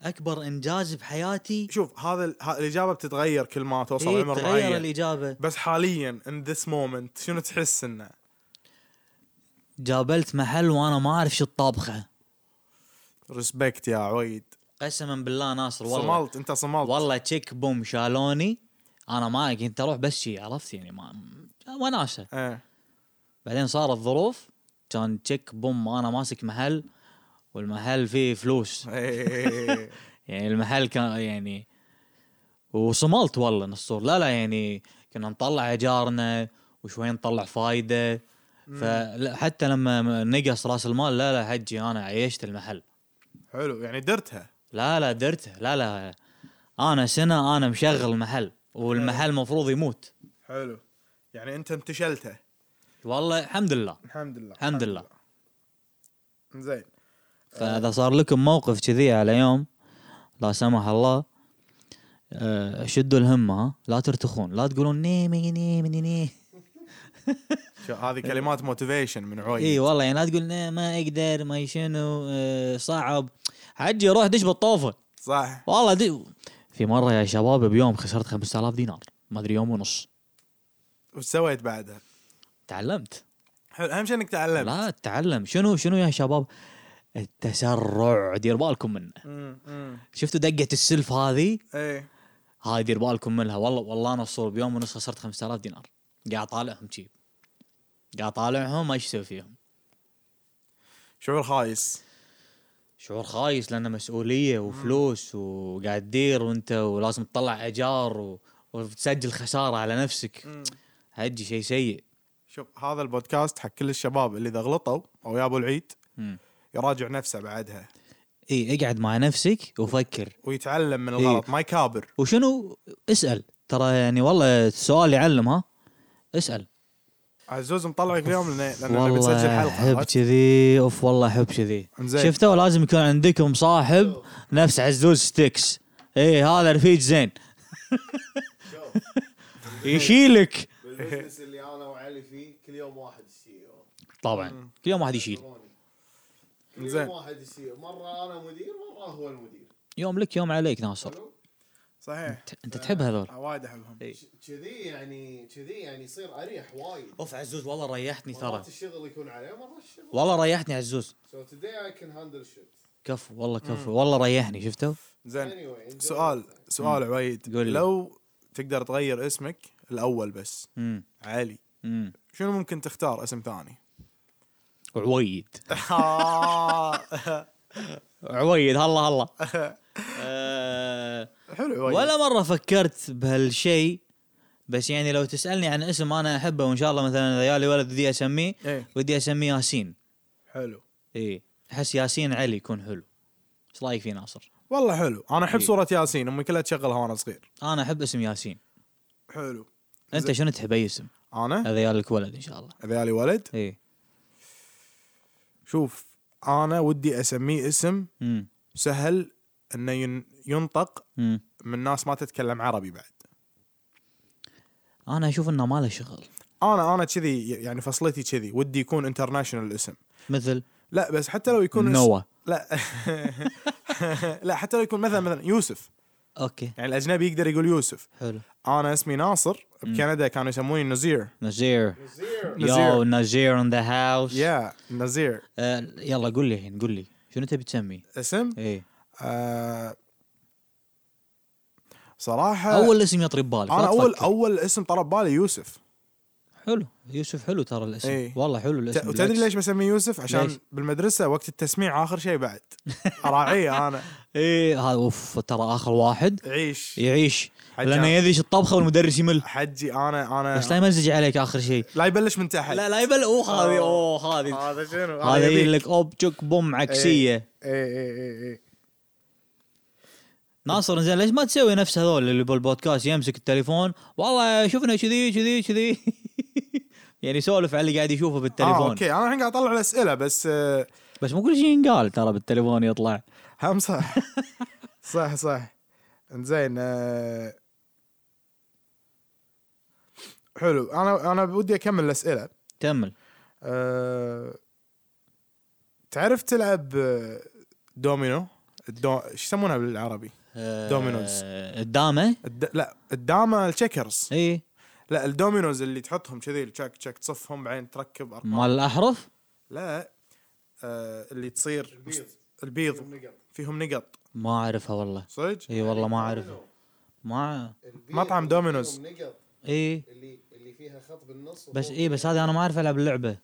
Speaker 1: اكبر انجاز بحياتي
Speaker 2: شوف هذا ال- ها- الاجابه بتتغير كل ما توصل
Speaker 1: إيه
Speaker 2: عمر
Speaker 1: تغير
Speaker 2: معين
Speaker 1: الاجابه
Speaker 2: بس حاليا ان ذس مومنت شنو تحس انه؟
Speaker 1: جابلت محل وانا ما اعرف شو الطابخه
Speaker 2: ريسبكت يا عويد
Speaker 1: قسما بالله ناصر والله
Speaker 2: صملت انت صملت
Speaker 1: والله تشيك بوم شالوني انا ما كنت اروح بس شي عرفت يعني ما وناسه
Speaker 2: ايه
Speaker 1: بعدين صارت ظروف كان تشيك بوم انا ماسك محل والمحل فيه فلوس
Speaker 2: إيه.
Speaker 1: يعني المحل كان يعني وصملت والله نسطور لا لا يعني كنا نطلع ايجارنا وشوي نطلع فايده فحتى لما نقص راس المال لا لا حجي انا عيشت المحل
Speaker 2: [LAUGHS] حلو يعني درتها
Speaker 1: لا لا درته لا لا انا سنه انا مشغل المحل والمحل المفروض يموت
Speaker 2: حلو يعني انت انتشلتها
Speaker 1: والله الحمد لله
Speaker 2: الحمد لله
Speaker 1: الحمد لله.
Speaker 2: زين
Speaker 1: فاذا صار لكم موقف كذي على يوم لا سمح الله آه، شدوا الهم ها لا ترتخون لا تقولون نيمي نيمي نيمي
Speaker 2: شو- هذه
Speaker 1: إيه.
Speaker 2: كلمات موتيفيشن من عويد
Speaker 1: اي والله يعني لا تقول "لا، ما اقدر ما شنو آه، صعب حجي روح دش بالطوفه
Speaker 2: صح
Speaker 1: والله دي في مره يا شباب بيوم خسرت 5000 دينار ما ادري يوم ونص
Speaker 2: وش سويت بعدها؟
Speaker 1: تعلمت
Speaker 2: حلو اهم شيء انك تعلمت
Speaker 1: لا تتعلم شنو شنو يا شباب التسرع دير بالكم منه
Speaker 2: مم، مم.
Speaker 1: شفتوا دقه السلف هذه
Speaker 2: ايه
Speaker 1: هاي دير بالكم منها والله والله انا الصور بيوم ونص خسرت 5000 دينار قاعد طالعهم شي قاعد طالعهم ما يسوي فيهم
Speaker 2: شعور خايس
Speaker 1: شعور خايس لانه مسؤوليه وفلوس وقاعد تدير وانت ولازم تطلع ايجار و... وتسجل خساره على نفسك هجي شيء سيء
Speaker 2: شوف هذا البودكاست حق كل الشباب اللي اذا غلطوا او يابوا العيد
Speaker 1: مم.
Speaker 2: يراجع نفسه بعدها
Speaker 1: اي اقعد مع نفسك وفكر
Speaker 2: ويتعلم
Speaker 1: إيه.
Speaker 2: من الغلط ما يكابر
Speaker 1: وشنو اسال ترى يعني والله السؤال يعلم ها اسال
Speaker 2: عزوز مطلعك اليوم لأن- لان نبي نسجل
Speaker 1: والله
Speaker 2: حلقه
Speaker 1: احب
Speaker 2: عرفت؟
Speaker 1: كذي اوف والله احب كذي
Speaker 2: إنزين.
Speaker 1: شفتوا لازم يكون عندكم صاحب نفس عزوز ستيكس اي هذا رفيج
Speaker 2: [LAUGHS]
Speaker 1: زين
Speaker 4: شوف
Speaker 1: يشيلك
Speaker 4: [LAUGHS] بالبزنس اللي انا وعلي فيه كل يوم واحد E السي او
Speaker 1: طبعا كل يوم واحد يشيل
Speaker 4: كل
Speaker 2: زين.
Speaker 4: يوم واحد E السي مره انا مدير مره هو المدير
Speaker 1: يوم لك يوم عليك ناصر
Speaker 4: حلو
Speaker 2: صحيح
Speaker 1: ت- انت تحب هذول
Speaker 2: آه، وايد احبهم
Speaker 4: ش- كذي يعني كذي يعني يصير اريح وايد
Speaker 1: اوف عزوز والله ريحتني
Speaker 4: مرات الشغل يكون عليه مرات الشغل
Speaker 1: والله ريحتني عزوز
Speaker 4: So today I can handle shit.
Speaker 1: كفو والله كفو والله ريحني شفته
Speaker 2: زين
Speaker 3: Anyway, enjoy.
Speaker 2: سؤال سؤال عويد
Speaker 1: قول لي.
Speaker 2: لو تقدر تغير اسمك الاول بس
Speaker 1: امم
Speaker 2: علي
Speaker 1: امم
Speaker 2: شنو ممكن تختار اسم
Speaker 1: [LAUGHS]
Speaker 2: ثاني؟ [LAUGHS]
Speaker 1: عويد عويد هلا هلا آه،
Speaker 2: حلو عويد.
Speaker 1: ولا مره فكرت بهالشيء بس يعني لو تسالني عن اسم انا احبه وان شاء الله مثلا اذا يالي ولد ودي اسميه
Speaker 2: ايه
Speaker 1: ودي اسميه ياسين
Speaker 2: حلو
Speaker 1: اي احس ياسين علي يكون حلو ايش رايك فيه ناصر؟
Speaker 2: والله حلو انا احب
Speaker 1: إيه.
Speaker 2: صوره ياسين امي كلها تشغلها وانا صغير
Speaker 1: انا احب اسم ياسين
Speaker 2: حلو
Speaker 1: انت شنو تحب اي اسم؟
Speaker 2: انا
Speaker 1: اذا يالك ولد ان شاء الله إيه.
Speaker 2: اذا يالي ولد
Speaker 1: اي
Speaker 2: شوف انا ودي اسميه اسم
Speaker 1: امم
Speaker 2: سهل انه ين- ينطق
Speaker 1: امم
Speaker 2: من ناس ما تتكلم عربي بعد
Speaker 1: انا اشوف انه ما له شغل
Speaker 2: انا انا كذي يعني فصلتي كذي ودي يكون انترناشونال الاسم
Speaker 1: مثل
Speaker 2: لا بس حتى لو يكون اسم-
Speaker 1: نوا
Speaker 2: لا [LAUGHS] لا حتى لو يكون مثلا مثلا يوسف
Speaker 1: اوكي
Speaker 2: يعني الاجنبي يقدر يقول يوسف
Speaker 1: حلو
Speaker 2: انا اسمي ناصر بكندا كانوا يسموني نزير
Speaker 1: نزير
Speaker 3: زير
Speaker 1: يو نزير ان ذا هاوس
Speaker 2: يا نزير
Speaker 1: آه، يلا قول لي الحين قول لي شنو تبي تسميه؟
Speaker 2: اسم
Speaker 1: ايه
Speaker 2: آه، صراحه
Speaker 1: اول اسم يطري ببالك لا
Speaker 2: انا اول
Speaker 1: تفكر.
Speaker 2: اول اسم طرب بالي يوسف
Speaker 1: حلو يوسف حلو ترى الاسم
Speaker 2: إيه.
Speaker 1: والله حلو
Speaker 2: ت-
Speaker 1: الاسم
Speaker 2: وتدري
Speaker 1: بالعكس.
Speaker 2: ليش بسميه يوسف عشان
Speaker 1: ليش؟
Speaker 2: بالمدرسه وقت التسميع اخر شيء
Speaker 1: [LAUGHS]
Speaker 2: بعد اراعيه انا
Speaker 1: ايه هذا اوف ترى اخر واحد
Speaker 2: عيش
Speaker 1: يعيش
Speaker 2: حجام.
Speaker 1: لانه يدش الطبخه والمدرس يمل
Speaker 2: حجي انا
Speaker 1: بس لا
Speaker 2: انا
Speaker 1: يمزج عليك اخر شيء
Speaker 2: لا يبلش من تحت
Speaker 1: لا لا يبل اوه هذه اوه هذه
Speaker 2: هذا شنو
Speaker 1: هذا
Speaker 2: يبيك.
Speaker 1: يقول لك اوبجك بوم
Speaker 2: إيه.
Speaker 1: عكسيه
Speaker 2: اي اي اي اي
Speaker 1: آه، ناصر زين ليش ما تسوي نفس هذول اللي بالبودكاست يمسك التليفون والله شفنا كذي كذي كذي [LAUGHS] يعني سولف على اللي قاعد يشوفه
Speaker 2: آه
Speaker 1: بالتليفون
Speaker 2: اوكي انا الحين قاعد اطلع الاسئله بس آه،
Speaker 1: بس مو كل شيء ينقال ترى بالتليفون يطلع
Speaker 2: هم
Speaker 1: [LAUGHS]
Speaker 2: صح صح صح زين آه، حلو انا انا ودي اكمل الاسئله
Speaker 1: كمل
Speaker 2: أه... تعرف تلعب آه، دومينو الدو... شو يسمونها بالعربي؟
Speaker 1: آه،
Speaker 2: دومينوز.
Speaker 1: الدامه
Speaker 2: الد... لا الدامه الشيكرز
Speaker 1: اي
Speaker 2: لا الدومينوز اللي تحطهم كذي تشك تشك تصفهم بعدين تركب ارقام
Speaker 1: مال الاحرف
Speaker 2: لا أه... اللي تصير
Speaker 3: البيض.
Speaker 2: البيض
Speaker 3: النقط
Speaker 2: فيهم نقط
Speaker 1: ما اعرفها والله
Speaker 2: صدق؟
Speaker 1: اي والله ما اعرفها ما
Speaker 3: البيض
Speaker 2: مطعم
Speaker 3: اللي
Speaker 2: دومينوز.
Speaker 3: فيهم نقط
Speaker 1: اي
Speaker 3: اللي اللي فيها خط بالنص
Speaker 1: بس
Speaker 2: إيه.
Speaker 1: اي بس هذه انا ما اعرف العب اللعبه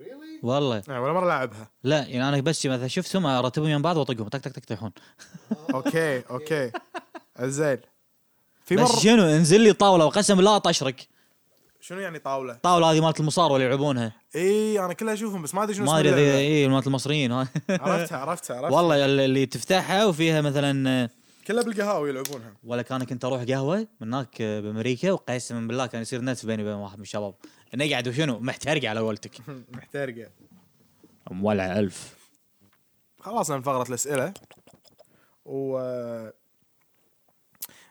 Speaker 3: ريلي
Speaker 1: والله
Speaker 2: يعني ولا مره [LAUGHS] لعبها
Speaker 1: لا يعني انا بس مثلا شفتهم ارتبهم يم بعض واطقهم تك تك تك تكحون
Speaker 2: اوكي اوكي زين في
Speaker 1: بس
Speaker 2: مره
Speaker 1: شنو انزل لي طاوله وقسم لا طشرك
Speaker 2: شنو يعني طاوله؟
Speaker 1: الطاوله هذه مالت المصارى اللي يلعبونها
Speaker 2: اي انا كلها اشوفهم بس ما ادري شنو
Speaker 1: ما ادري
Speaker 2: اسمها.
Speaker 1: إذا- اي مالت المصريين ها
Speaker 2: عرفتها عرفتها عرفتها
Speaker 1: [LAUGHS] والله ال- اللي تفتحها وفيها مثلا آه،
Speaker 2: كلها بالقهاوي يلعبونها [LAUGHS]
Speaker 1: ولا كان كنت اروح قهوه من هناك آه، بامريكا وقسما بالله كان يصير نتف بيني وبين واحد من الشباب نقعد وشنو محترق على ولتك
Speaker 2: محترقه
Speaker 1: مولع الف
Speaker 2: خلصنا من فقره الاسئله و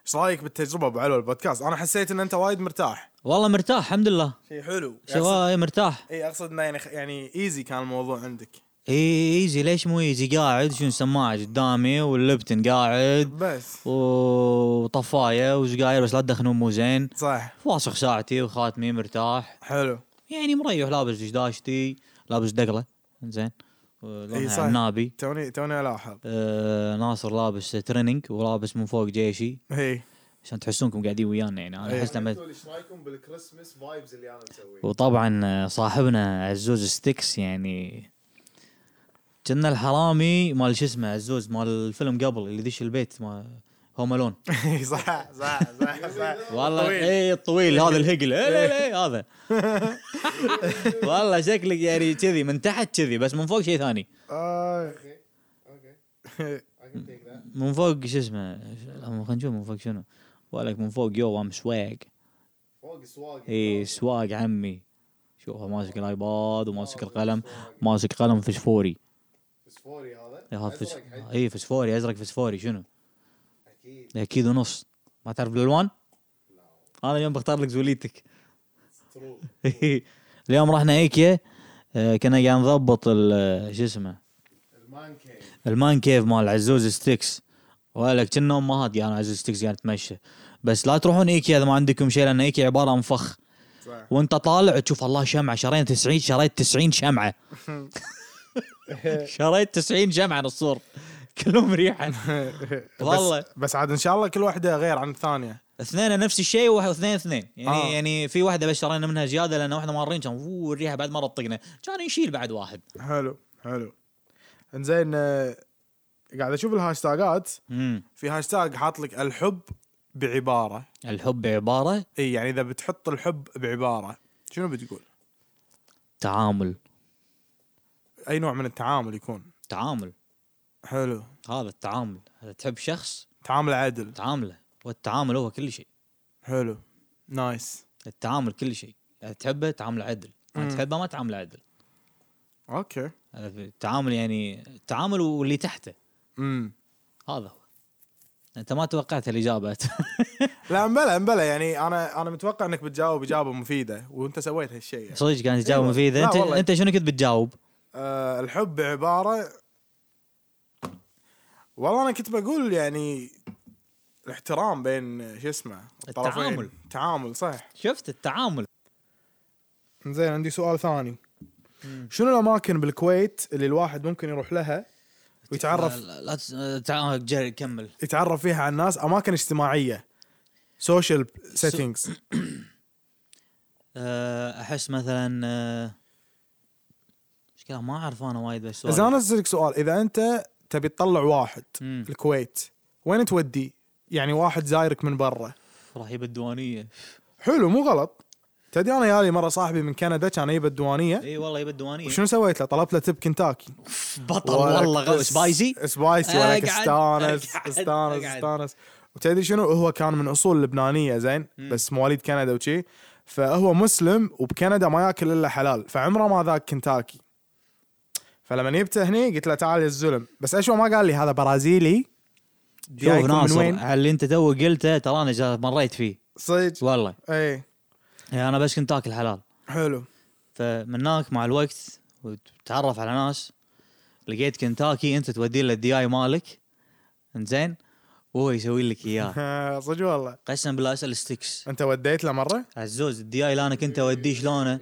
Speaker 2: ايش رايك بالتجربه ابو علو البودكاست؟ انا حسيت ان انت وايد مرتاح
Speaker 1: والله مرتاح الحمد لله
Speaker 2: شيء حلو
Speaker 1: شباب مرتاح
Speaker 2: اي اقصد انه يعني يعني ايزي كان الموضوع عندك
Speaker 1: اي ايزي ليش مو ايزي قاعد شنو سماعه قدامي واللبتن قاعد
Speaker 2: بس
Speaker 1: وطفايه وسجاير بس لا تدخنون مو زين
Speaker 2: صح
Speaker 1: واثق ساعتي وخاتمي مرتاح
Speaker 2: حلو
Speaker 1: يعني مريح لابس دشداشتي لابس دقله زين
Speaker 2: صح.
Speaker 1: لونها عنابي
Speaker 2: توني توني [LAUGHS] الاحظ
Speaker 1: آه ناصر لابس تريننج ولابس من فوق جيشي
Speaker 2: اي
Speaker 1: عشان تحسونكم قاعدين ويانا يعني انا
Speaker 2: إيه.
Speaker 1: احس لما
Speaker 3: ايش رايكم بالكريسماس فايبز اللي انا
Speaker 2: [LAUGHS]
Speaker 3: مسويه؟
Speaker 1: وطبعا آه، صاحبنا عزوز ستيكس يعني كنا الحرامي مال شو اسمه عزوز مال الفيلم قبل اللي دش البيت ما هوم الون
Speaker 2: [LAUGHS] [LAUGHS] صح صح صح صح
Speaker 1: والله
Speaker 2: طويل.
Speaker 1: اي الطويل هذا الهقل إيه لا لا إيه هذا والله شكلك يعني كذي من تحت كذي بس من فوق شيء ثاني
Speaker 2: آه.
Speaker 3: اوكي اوكي I can take that.
Speaker 1: من فوق شو اسمه لا، خلينا نشوف من فوق شنو ولك من فوق يو ام سواق
Speaker 3: فوق سواق
Speaker 1: اي سواق عمي شوفه ماسك الايباد وماسك القلم ماسك قلم فسفوري
Speaker 3: فسفوري هذا
Speaker 1: هذا
Speaker 3: أزرق
Speaker 1: فس...
Speaker 3: حد.
Speaker 1: اي فسفوري ازرق فسفوري شنو؟
Speaker 3: اكيد
Speaker 1: اكيد ونص ما تعرف الالوان؟ انا اليوم بختار لك زوليتك [LAUGHS]
Speaker 3: ترو
Speaker 1: اليوم رحنا ايكيا آه، كنا قاعد نضبط ال- شو اسمه
Speaker 3: المان كيف
Speaker 1: المان كيف مال عزوز ستيكس ولك كنا امهات يعني عزوز ستيكس قاعد تمشى بس لا تروحون ايكيا اذا ما عندكم شيء لان ايكيا عباره عن فخ
Speaker 2: صح [LAUGHS]
Speaker 1: وانت طالع تشوف الله شمعه شرينا 90 شريت 90 شمعه شريت 90 جمعه نصور كلهم ريحا والله.
Speaker 2: [LAUGHS] بس, بس عاد ان شاء الله كل واحده غير عن الثانيه
Speaker 1: اثنين نفس الشيء واحد- واثنين اثنين يعني
Speaker 2: آه.
Speaker 1: آه. يعني في واحده بس شرينا منها زياده لان واحده مارين كان أوه، الريحه بعد ما رطقنا كان يشيل بعد واحد
Speaker 2: حلو حلو انزين آه، قاعد اشوف الهاشتاجات
Speaker 1: امم
Speaker 2: في هاشتاج حاط لك الحب بعباره
Speaker 1: الحب عباره
Speaker 2: اي يعني اذا بتحط الحب بعباره شنو بتقول؟
Speaker 1: تعامل
Speaker 2: اي نوع من التعامل يكون
Speaker 1: تعامل
Speaker 2: حلو
Speaker 1: هذا التعامل اذا تحب شخص
Speaker 2: تعامل عادل
Speaker 1: تعامله والتعامل هو كل شيء
Speaker 2: حلو نايس
Speaker 1: التعامل كل شيء اذا تحبه تعامل عدل اذا
Speaker 2: مم.
Speaker 1: تحبه ما تعامل عدل
Speaker 2: اوكي
Speaker 1: التعامل يعني التعامل واللي تحته
Speaker 2: امم
Speaker 1: هذا هو انت ما توقعت [LAUGHS] الاجابه
Speaker 2: لا مبلا مبلا يعني انا انا متوقع انك بتجاوب اجابه مفيده وانت سويت هالشيء يعني.
Speaker 1: صدق كانت تجاوب
Speaker 2: أيوة. لا
Speaker 1: مفيده انت
Speaker 2: والله.
Speaker 1: انت شنو كنت بتجاوب؟
Speaker 2: أه الحب عباره والله انا كنت بقول يعني الاحترام بين شو اسمه
Speaker 1: التعامل.
Speaker 2: تعامل صح
Speaker 1: شفت التعامل
Speaker 2: زين عندي سؤال ثاني شنو الاماكن بالكويت اللي الواحد ممكن يروح لها ويتعرف
Speaker 1: لا, لا تس... تع- آه، جري كمل
Speaker 2: يتعرف فيها على الناس اماكن اجتماعيه سوشيال سيتنجز
Speaker 1: أه، احس مثلا أه، مشكله ما اعرف انا وايد بس
Speaker 2: اذا انا اسالك سؤال اذا انت تبي تطلع واحد
Speaker 1: مم.
Speaker 2: الكويت وين تودي يعني واحد زايرك من برا
Speaker 1: راح يبى الديوانيه
Speaker 2: حلو مو غلط تدري انا يالي مره صاحبي من كندا كان يبى الديوانيه
Speaker 1: اي والله يبى الديوانيه
Speaker 2: وشنو سويت له طلبت له تب كنتاكي
Speaker 1: بطل والله غو...
Speaker 2: س-
Speaker 1: سبايسي آه،
Speaker 2: سبايسي ولك
Speaker 1: أقعد- [LAUGHS]
Speaker 2: استانس
Speaker 1: أقعد- أقعد.
Speaker 2: استانس استانس وتدري شنو هو كان من اصول لبنانيه زين بس مواليد كندا وشي فهو مسلم وبكندا ما ياكل الا حلال فعمره ما ذاق كنتاكي فلما جبته هني قلت له تعال يا الزلم بس اشوى ما قال لي هذا برازيلي جايكم
Speaker 1: شوف
Speaker 2: من
Speaker 1: ناصر
Speaker 2: وين؟
Speaker 1: على اللي انت تو قلته ترى انا جا- مريت فيه
Speaker 2: صدق
Speaker 1: والله
Speaker 2: اي
Speaker 1: يعني انا بس كنت اكل حلال
Speaker 2: حلو
Speaker 1: فمن هناك مع الوقت وتتعرف على ناس لقيت كنتاكي انت تودي له الدي اي مالك انزين وهو يسوي لك
Speaker 2: [LAUGHS]
Speaker 1: اياه
Speaker 2: صدق والله
Speaker 1: قسما بالله اسال ستيكس
Speaker 2: انت وديت له مره
Speaker 1: عزوز الدي اي اللي انا كنت اوديه شلونه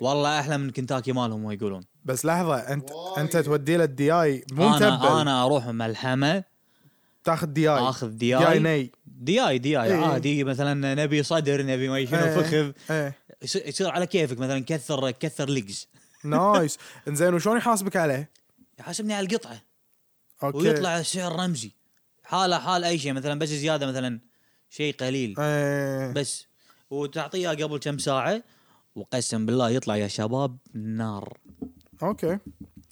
Speaker 1: والله احلى من كنتاكي مالهم هم يقولون
Speaker 2: بس لحظه انت
Speaker 3: وايد.
Speaker 2: انت تودي له الدي اي مو
Speaker 1: انا
Speaker 2: متبل طيب.
Speaker 1: انا اروح ملحمه
Speaker 2: تاخذ دي اي
Speaker 1: آخذ دي
Speaker 2: دي
Speaker 1: آي.
Speaker 2: اي ني
Speaker 1: دي اي دي اي
Speaker 2: إيه.
Speaker 1: عادي مثلا نبي صدر نبي ما شنو
Speaker 2: إيه.
Speaker 1: فخذ
Speaker 2: ايه
Speaker 1: يص- يصير على كيفك مثلا كثر كثر ليجز
Speaker 2: نايس انزين وشلون يحاسبك عليه؟
Speaker 1: يحاسبني على القطعه
Speaker 2: اوكي
Speaker 1: ويطلع سعر رمزي حاله حال اي شيء مثلا بس زياده مثلا شيء قليل
Speaker 2: ايه
Speaker 1: بس وتعطيه إياه قبل كم ساعه وقسم بالله يطلع يا شباب نار
Speaker 2: اوكي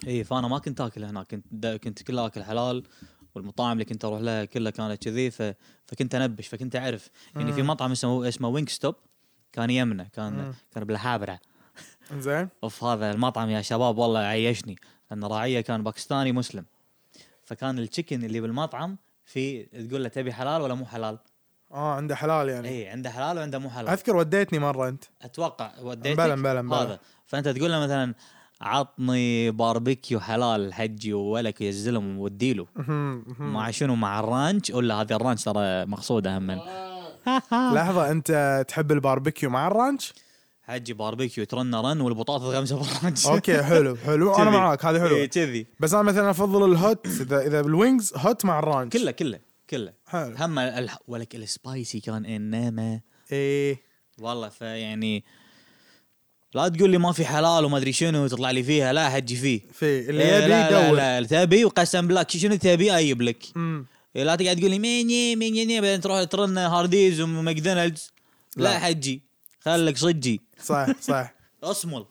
Speaker 1: اي فانا ما كنت اكل هناك كنت دا كنت كله اكل حلال والمطاعم اللي كنت اروح لها كلها كانت كذي ف... فكنت انبش فكنت اعرف يعني في مطعم اسمه اسمه وينك ستوب كان يمنا كان كان بالحابره
Speaker 2: انزين
Speaker 1: اوف هذا المطعم يا شباب والله عيشني لان راعيه كان باكستاني مسلم فكان التشكن اللي بالمطعم في تقول له تبي حلال ولا مو حلال؟
Speaker 2: اه عنده حلال يعني
Speaker 1: اي عنده حلال وعنده مو حلال
Speaker 2: اذكر وديتني مره انت
Speaker 1: اتوقع وديتك
Speaker 2: بلا- بلا- بلا.
Speaker 1: هذا فانت تقول له مثلا عطني باربيكيو حلال حجي ولك يا الزلم وديله مع شنو مع الرانش ولا هذا الرانش ترى مقصوده هم
Speaker 2: لحظه انت تحب الباربيكيو مع
Speaker 1: [LAUGHS]
Speaker 2: الرانش؟
Speaker 1: حجي باربيكيو ترن رن والبطاطا غمسه بالرانش
Speaker 2: اوكي حلو حلو
Speaker 1: [LAUGHS]
Speaker 2: انا
Speaker 1: كذي. إيه.
Speaker 2: معاك هذه
Speaker 1: إي،
Speaker 2: حلوه
Speaker 1: كذي
Speaker 2: بس انا مثلا افضل الهوت اذا اذا بالوينجز هوت مع الرانش
Speaker 1: كله كله كله
Speaker 2: حلو.
Speaker 1: هم الح... ولك السبايسي كان انما
Speaker 2: ايه
Speaker 1: والله فيعني لا تقول لي ما في حلال وما ادري شنو وتطلع لي فيها لا حجي فيه
Speaker 2: في اللي
Speaker 1: إيه،
Speaker 2: يبي
Speaker 1: لا- لا-
Speaker 2: يدور
Speaker 1: لا تبي وقسم بالله شنو تبي اجيب لك
Speaker 2: أمم.
Speaker 1: إيه، لا تقعد تقول لي ميني ميني ميني، بعدين تروح ترن هارديز وماكدونالدز
Speaker 2: لا.
Speaker 1: لا حجي خلك صجي
Speaker 2: صح صح
Speaker 1: اصمل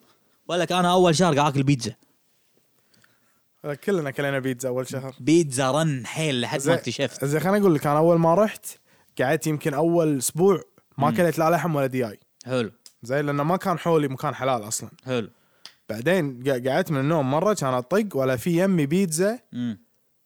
Speaker 1: ولك انا اول شهر قاعد اكل بيتزا
Speaker 2: كلنا كلينا بيتزا اول شهر
Speaker 1: بيتزا رن حيل لحد ما اكتشفت
Speaker 2: زين خليني اقول لك انا اول ما رحت قعدت يمكن اول اسبوع ما اكلت لا لحم ولا دياي
Speaker 1: حلو
Speaker 2: زين لانه ما كان حولي مكان حلال اصلا
Speaker 1: حلو
Speaker 2: بعدين قا- قعدت من النوم مره كان اطق ولا في يمي بيتزا
Speaker 1: امم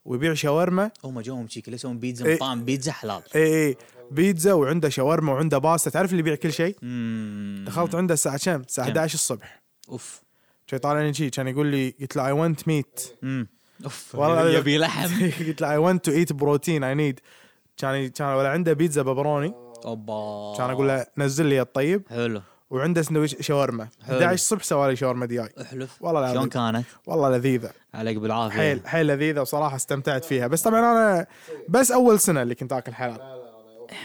Speaker 2: ويبيع شاورما
Speaker 1: هم جوهم شيك ليش يسوون
Speaker 2: إيه.
Speaker 1: بيتزا مطعم بيتزا حلال
Speaker 2: اي اي بيتزا وعنده شاورما وعنده باستا تعرف اللي يبيع كل شيء
Speaker 1: امم
Speaker 2: دخلت عنده الساعه كم الساعه
Speaker 1: كم؟
Speaker 2: 11 الصبح
Speaker 1: اوف
Speaker 2: كان طالعني شي كان يقول لي قلت له اي
Speaker 1: [LAUGHS]
Speaker 2: ونت ميت
Speaker 1: امم اوف
Speaker 2: والله
Speaker 1: يبي لحم
Speaker 2: [LAUGHS] قلت له اي ونت تو ايت بروتين اي نيد كان كان ولا عنده بيتزا ببروني
Speaker 1: اوبا
Speaker 2: كان اقول له نزل لي الطيب
Speaker 1: حلو
Speaker 2: وعنده سندويش شاورما
Speaker 1: حلو.
Speaker 2: 11 الصبح سوى لي شاورما دياي
Speaker 1: احلف
Speaker 2: والله العظيم.
Speaker 1: شلون كانت؟
Speaker 2: والله لذيذه
Speaker 1: عليك بالعافيه
Speaker 2: حيل حيل لذيذه وصراحه استمتعت فيها بس طبعا انا بس اول سنه اللي كنت اكل حلال
Speaker 3: لا لا انا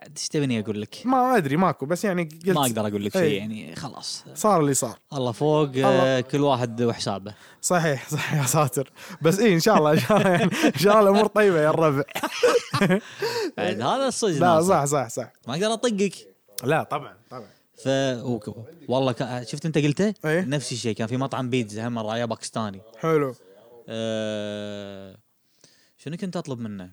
Speaker 1: بعد ايش تبيني اقول لك؟
Speaker 2: ما ادري ماكو بس يعني قلت إيه.
Speaker 1: ما اقدر اقول لك
Speaker 2: إي.
Speaker 1: شيء يعني خلاص
Speaker 2: صار اللي صار
Speaker 1: الله فوق آه، كل واحد وحسابه
Speaker 2: صحيح صحيح يا ساتر بس اي ان شاء الله ان شاء الله يعني ان شاء الله الامور طيبه يا
Speaker 1: [LAUGHS]
Speaker 2: الربع
Speaker 1: بعد هذا الصدق
Speaker 2: إيه. لا
Speaker 1: ناصر.
Speaker 2: صح صح صح
Speaker 1: ما اقدر اطقك
Speaker 2: لا طبعا طبعا
Speaker 1: ف وك- والله ك... شفت انت قلته؟
Speaker 2: إيه.
Speaker 1: نفس الشيء كان في مطعم بيتزا هم رايه باكستاني
Speaker 2: حلو
Speaker 1: أه... شنو كنت اطلب منه؟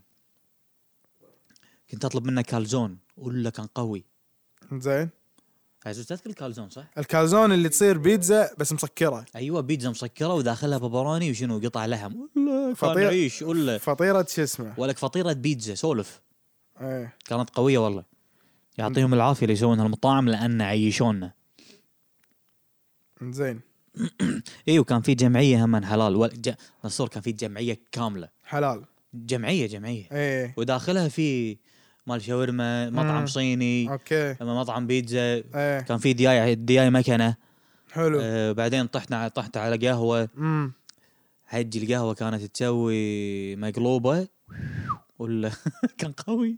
Speaker 1: كنت اطلب منه كالزون ولا كان قوي
Speaker 2: زين
Speaker 1: عزوز تذكر الكالزون صح؟
Speaker 2: الكالزون اللي تصير بيتزا بس مسكره
Speaker 1: ايوه بيتزا مسكره وداخلها بابروني وشنو قطع لحم ولا كان
Speaker 2: فطير.
Speaker 1: عيش ولا
Speaker 2: فطيره شو اسمه
Speaker 1: ولك فطيره بيتزا سولف
Speaker 2: ايه
Speaker 1: كانت قويه والله يعطيهم العافيه اللي يسوون هالمطاعم لان عيشونا
Speaker 2: زين
Speaker 1: اي إيه، وكان في جمعيه هم حلال و... ج... منصور كان في جمعيه كامله
Speaker 2: حلال
Speaker 1: جمعيه جمعيه
Speaker 2: ايه
Speaker 1: وداخلها في مال شاورما
Speaker 2: مم.
Speaker 1: مطعم صيني
Speaker 2: اوكي
Speaker 1: أما مطعم بيتزا
Speaker 2: ايه
Speaker 1: كان في دياي دياي مكنه
Speaker 2: حلو
Speaker 1: آه بعدين طحنا طحت على قهوه
Speaker 2: امم
Speaker 1: حجي القهوه كانت تسوي مقلوبه ولا [LAUGHS] كان قوي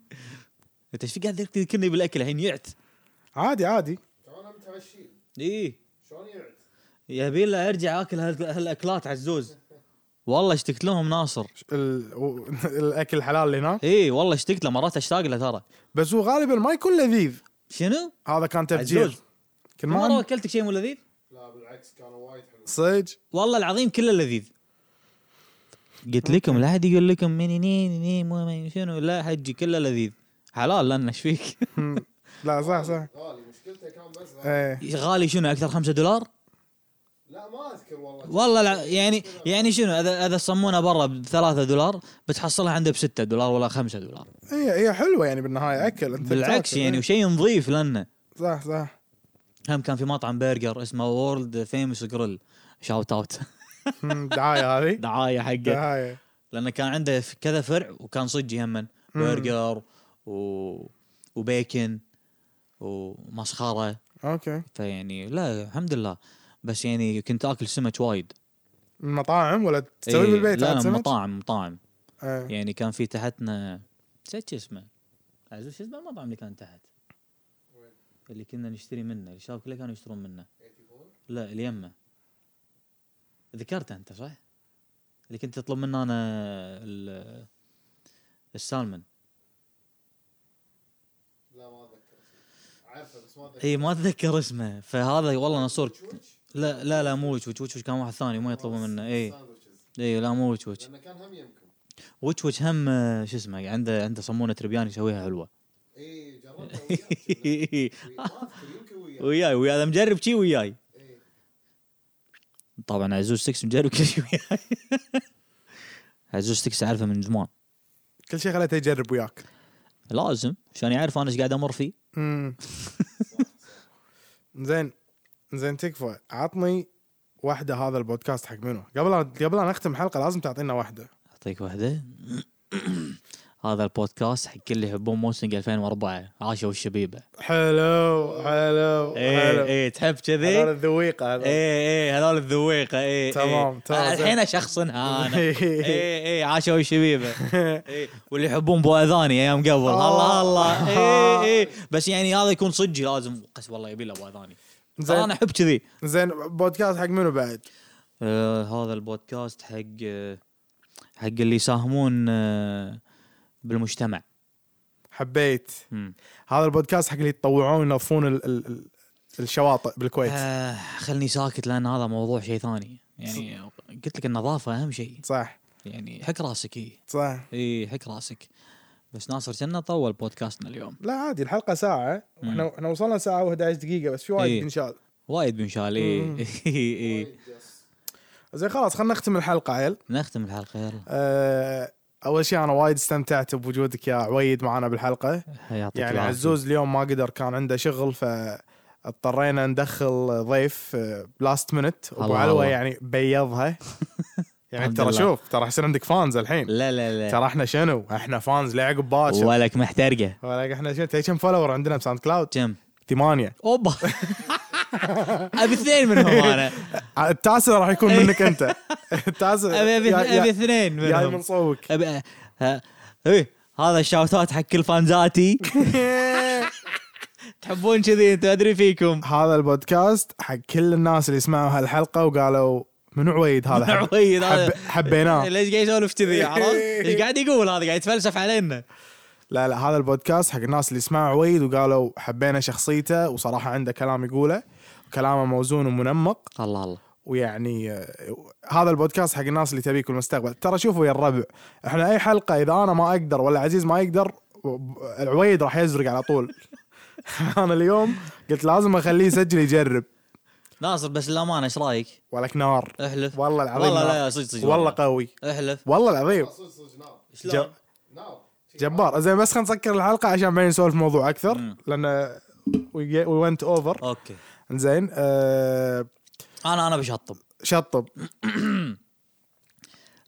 Speaker 1: انت ايش فيك قاعد تذكرني بالاكل الحين يعت
Speaker 2: عادي عادي
Speaker 3: انا متعشي
Speaker 1: اي
Speaker 3: شلون يعد؟
Speaker 1: يبي له ارجع اكل هال- هالاكلات عزوز والله اشتقت لهم ناصر
Speaker 2: ال... و... [LAUGHS] الاكل الحلال اللي هناك
Speaker 1: اي والله اشتقت له مرات اشتاق له ترى
Speaker 2: بس هو غالبا ما يكون لذيذ
Speaker 1: شنو؟
Speaker 2: هذا كان تفجير
Speaker 1: عزوز
Speaker 2: كل ما
Speaker 1: مره
Speaker 2: عن-
Speaker 1: اكلتك شيء مو لذيذ؟
Speaker 3: لا بالعكس كانوا وايد حلوين
Speaker 2: صج
Speaker 1: والله العظيم كله لذيذ قلت لكم لا احد يقول لكم مني نيني ني مو من شنو لا حجي كله لذيذ حلال لان ايش فيك؟ [LAUGHS]
Speaker 2: لا صح صح
Speaker 3: غالي مشكلته كان بس غالي.
Speaker 2: ايه
Speaker 1: غالي شنو اكثر 5 دولار؟
Speaker 3: لا ما اذكر والله
Speaker 1: والله الع... يعني يعني شنو اذا اذا الصمونه برا ب 3 دولار بتحصلها عنده ب 6 دولار ولا 5 دولار
Speaker 2: هي هي حلوه يعني بالنهايه اكل انت
Speaker 1: بالعكس
Speaker 2: تاكل.
Speaker 1: يعني
Speaker 2: إيه.
Speaker 1: وشيء نظيف لانه
Speaker 2: صح صح
Speaker 1: هم كان في مطعم برجر اسمه وورلد فيمس جريل شاوت [LAUGHS] اوت
Speaker 2: مم،
Speaker 1: [LAUGHS]
Speaker 2: دعايه هذه
Speaker 1: دعايه حقه
Speaker 2: دعايه
Speaker 1: لانه كان عنده ف- كذا فرع وكان صجي هم برجر و... وبيكن ومسخره
Speaker 2: اوكي
Speaker 1: فيعني لا الحمد لله بس يعني كنت اكل سمك وايد
Speaker 2: من مطاعم ولا تسوي
Speaker 1: إيه،
Speaker 2: بالبيت
Speaker 1: لا
Speaker 2: عاد
Speaker 1: لا
Speaker 2: سمك؟
Speaker 1: مطاعم مطاعم
Speaker 2: إيه.
Speaker 1: يعني كان في تحتنا نسيت شو اسمه عزوز شو اسمه المطعم اللي كان تحت اللي كنا نشتري منه الشباب كله كانوا يشترون منه لا اللي يمه ذكرته انت صح؟ اللي كنت تطلب منه انا ال- السالمون
Speaker 3: لا ما اتذكر عارفه بس ما اتذكر
Speaker 1: اي ما اتذكر اسمه فهذا والله نصور
Speaker 3: وش
Speaker 1: لا لا لا مو وش وش وش كان واحد ثاني ما يطلبوا منه إيه. اي
Speaker 3: ساندوتشز
Speaker 1: اي لا مو وش وش
Speaker 3: لانه كان هم يمكن
Speaker 1: وش وش هم آه، شو اسمه عنده عنده صمونه ربيان يسويها [LAUGHS] حلوه
Speaker 3: اي إيه،
Speaker 1: [LAUGHS]
Speaker 3: جربته وياك ما اذكر يمكن وياك
Speaker 1: وياي وياي انا مجرب شي وياي
Speaker 3: إي.
Speaker 1: طبعا إيه. عزوز 6 مجرب كل شيء وياي [LAUGHS] عزوز 6 اعرفه من زمان
Speaker 2: كل شيء خليته يجرب وياك
Speaker 1: لازم عشان يعرف انا ايش قاعد امر فيه
Speaker 2: امم [LAUGHS] زين زين تكفى عطني واحده هذا البودكاست حق منو قبل قبل ان اختم حلقه لازم تعطينا واحده
Speaker 1: اعطيك واحده [CLEARS THROAT] هذا البودكاست حق اللي يحبون موسم 2004 عاشوا الشبيبه
Speaker 2: حلو حلو
Speaker 1: ايه
Speaker 2: حلو
Speaker 1: ايه تحب كذي
Speaker 2: هذول
Speaker 1: ايه
Speaker 2: الذويقه هذول.
Speaker 1: ايه هذول الذويقه ايه
Speaker 2: تمام،
Speaker 1: إيه.
Speaker 2: تمام،
Speaker 1: آه،
Speaker 2: زين.
Speaker 1: الحين اشخصنها
Speaker 2: [LAUGHS]
Speaker 1: انا ايه ايه عاشوا الشبيبه ايه واللي يحبون بو اذاني ايام
Speaker 2: آه.
Speaker 1: قبل الله
Speaker 2: [LAUGHS]
Speaker 1: الله ايه ايه بس يعني هذا يكون صجي لازم قس والله يبي له ابو اذاني
Speaker 2: زين.
Speaker 1: انا احب كذي
Speaker 2: زين بودكاست حق منو بعد
Speaker 1: آه، هذا البودكاست حق آه، حق اللي يساهمون آه، بالمجتمع
Speaker 2: حبيت
Speaker 1: مم.
Speaker 2: هذا البودكاست حق اللي يتطوعون ينظفون ال- ال- ال- الشواطئ بالكويت
Speaker 1: آه خلني ساكت لان هذا موضوع شيء ثاني يعني قلت لك النظافه اهم شيء
Speaker 2: صح
Speaker 1: يعني حك راسك اي
Speaker 2: صح
Speaker 1: اي حك راسك بس ناصر كنا طول بودكاستنا اليوم
Speaker 2: لا عادي الحلقه ساعه احنا احنا وصلنا ساعه و11 دقيقه بس في وايد
Speaker 1: إيه.
Speaker 2: بنشال
Speaker 1: وايد بنشال [LAUGHS] اي اي
Speaker 3: وايد يس.
Speaker 2: زين خلاص خلينا نختم الحلقه عيل
Speaker 1: نختم الحلقه يلا
Speaker 2: أه اول شيء انا وايد استمتعت بوجودك يا عويد معنا بالحلقه
Speaker 1: يعطيك
Speaker 2: يعني
Speaker 1: العافية.
Speaker 2: عزوز اليوم ما قدر كان عنده شغل فاضطرينا ندخل ضيف آه، لاست منت ابو
Speaker 1: الله
Speaker 2: علوه
Speaker 1: الله.
Speaker 2: يعني
Speaker 1: [LAUGHS]
Speaker 2: بيضها يعني
Speaker 1: الحمد
Speaker 2: ترى
Speaker 1: لله.
Speaker 2: شوف ترى حسين عندك فانز الحين
Speaker 1: لا لا لا
Speaker 2: ترى احنا شنو احنا فانز لعقب باشر
Speaker 1: ولك محترقه
Speaker 2: ولا احنا شنو تدري كم فولور عندنا بساوند كلاود
Speaker 1: كم
Speaker 2: ثمانيه
Speaker 1: [LAUGHS] اوبا ابي اثنين منهم
Speaker 2: [LAUGHS]
Speaker 1: انا
Speaker 2: آه، التاسع راح يكون
Speaker 1: [LAUGHS]
Speaker 2: منك انت التاسع
Speaker 1: ابي ابي
Speaker 2: يا- يا-
Speaker 1: ابي اثنين
Speaker 2: جاي من
Speaker 1: منهم [LAUGHS]
Speaker 2: صوبك
Speaker 1: ابي ها- إيه، هذا الشاوتات حق كل
Speaker 2: [LAUGHS]
Speaker 1: فانزاتي تحبون كذي انتم ادري فيكم
Speaker 2: هذا البودكاست حق كل الناس اللي سمعوا هالحلقه وقالوا من عويد هذا حب-
Speaker 1: عويد هذا.
Speaker 2: حب-
Speaker 1: [LAUGHS]
Speaker 2: حبيناه
Speaker 1: ليش قاعد يسولف كذي
Speaker 2: [LAUGHS]
Speaker 1: عرفت؟ ايش قاعد يقول هذا قاعد يتفلسف علينا
Speaker 2: لا لا هذا البودكاست حق الناس اللي سمعوا عويد وقالوا حبينا شخصيته وصراحه عنده كلام يقوله كلامه موزون ومنمق
Speaker 1: الله الله
Speaker 2: ويعني آه، هذا البودكاست حق الناس اللي تبيكم المستقبل ترى شوفوا يا الربع احنا اي حلقه اذا انا ما اقدر ولا عزيز ما يقدر ب- العويد راح يزرق على طول [LAUGHS] انا اليوم قلت لازم اخليه يسجل يجرب
Speaker 1: ناصر بس للامانه ايش رايك؟
Speaker 2: ولك نار
Speaker 1: احلف
Speaker 2: والله العظيم
Speaker 1: والله
Speaker 2: نار.
Speaker 1: لا، صدق صدق
Speaker 2: والله
Speaker 1: والله.
Speaker 2: قوي
Speaker 1: احلف
Speaker 2: والله العظيم
Speaker 3: صدق صدق نار
Speaker 1: شلون؟
Speaker 3: نار
Speaker 2: جبار زين بس خلينا نسكر الحلقه عشان بعدين نسولف موضوع اكثر لان وي ونت اوفر
Speaker 1: اوكي
Speaker 2: زين آه،
Speaker 1: انا انا بشطب
Speaker 2: شطب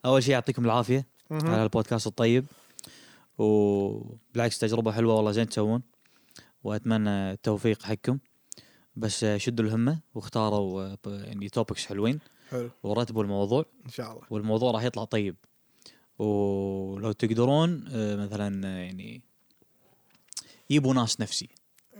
Speaker 1: اول شيء يعطيكم العافيه على البودكاست الطيب وبالعكس تجربه حلوه والله زين تسوون واتمنى التوفيق حقكم بس آه، شدوا الهمه واختاروا آه، ب- يعني توبكس حلوين
Speaker 2: حلو
Speaker 1: ورتبوا الموضوع
Speaker 2: ان شاء الله
Speaker 1: والموضوع راح يطلع طيب ولو تقدرون آه، مثلا آه، يعني يبوا ناس نفسي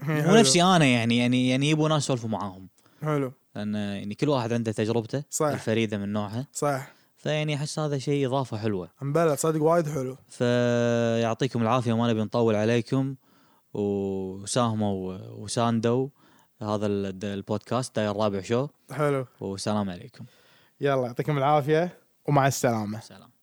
Speaker 1: مو
Speaker 2: حلو.
Speaker 1: نفسي انا يعني يعني يعني يبوا ناس سولفوا معاهم
Speaker 2: حلو
Speaker 1: لان آه، يعني كل واحد عنده تجربته
Speaker 2: صح.
Speaker 1: الفريده من نوعها
Speaker 2: صح
Speaker 1: فيعني احس هذا شيء اضافه حلوه
Speaker 2: امبلا صدق وايد حلو
Speaker 1: فيعطيكم العافيه ما نبي نطول عليكم وساهموا وساندوا هذا ال- البودكاست داير الرابع شو
Speaker 2: حلو
Speaker 1: والسلام عليكم
Speaker 2: يلا يعطيكم العافيه ومع السلامه
Speaker 1: سلام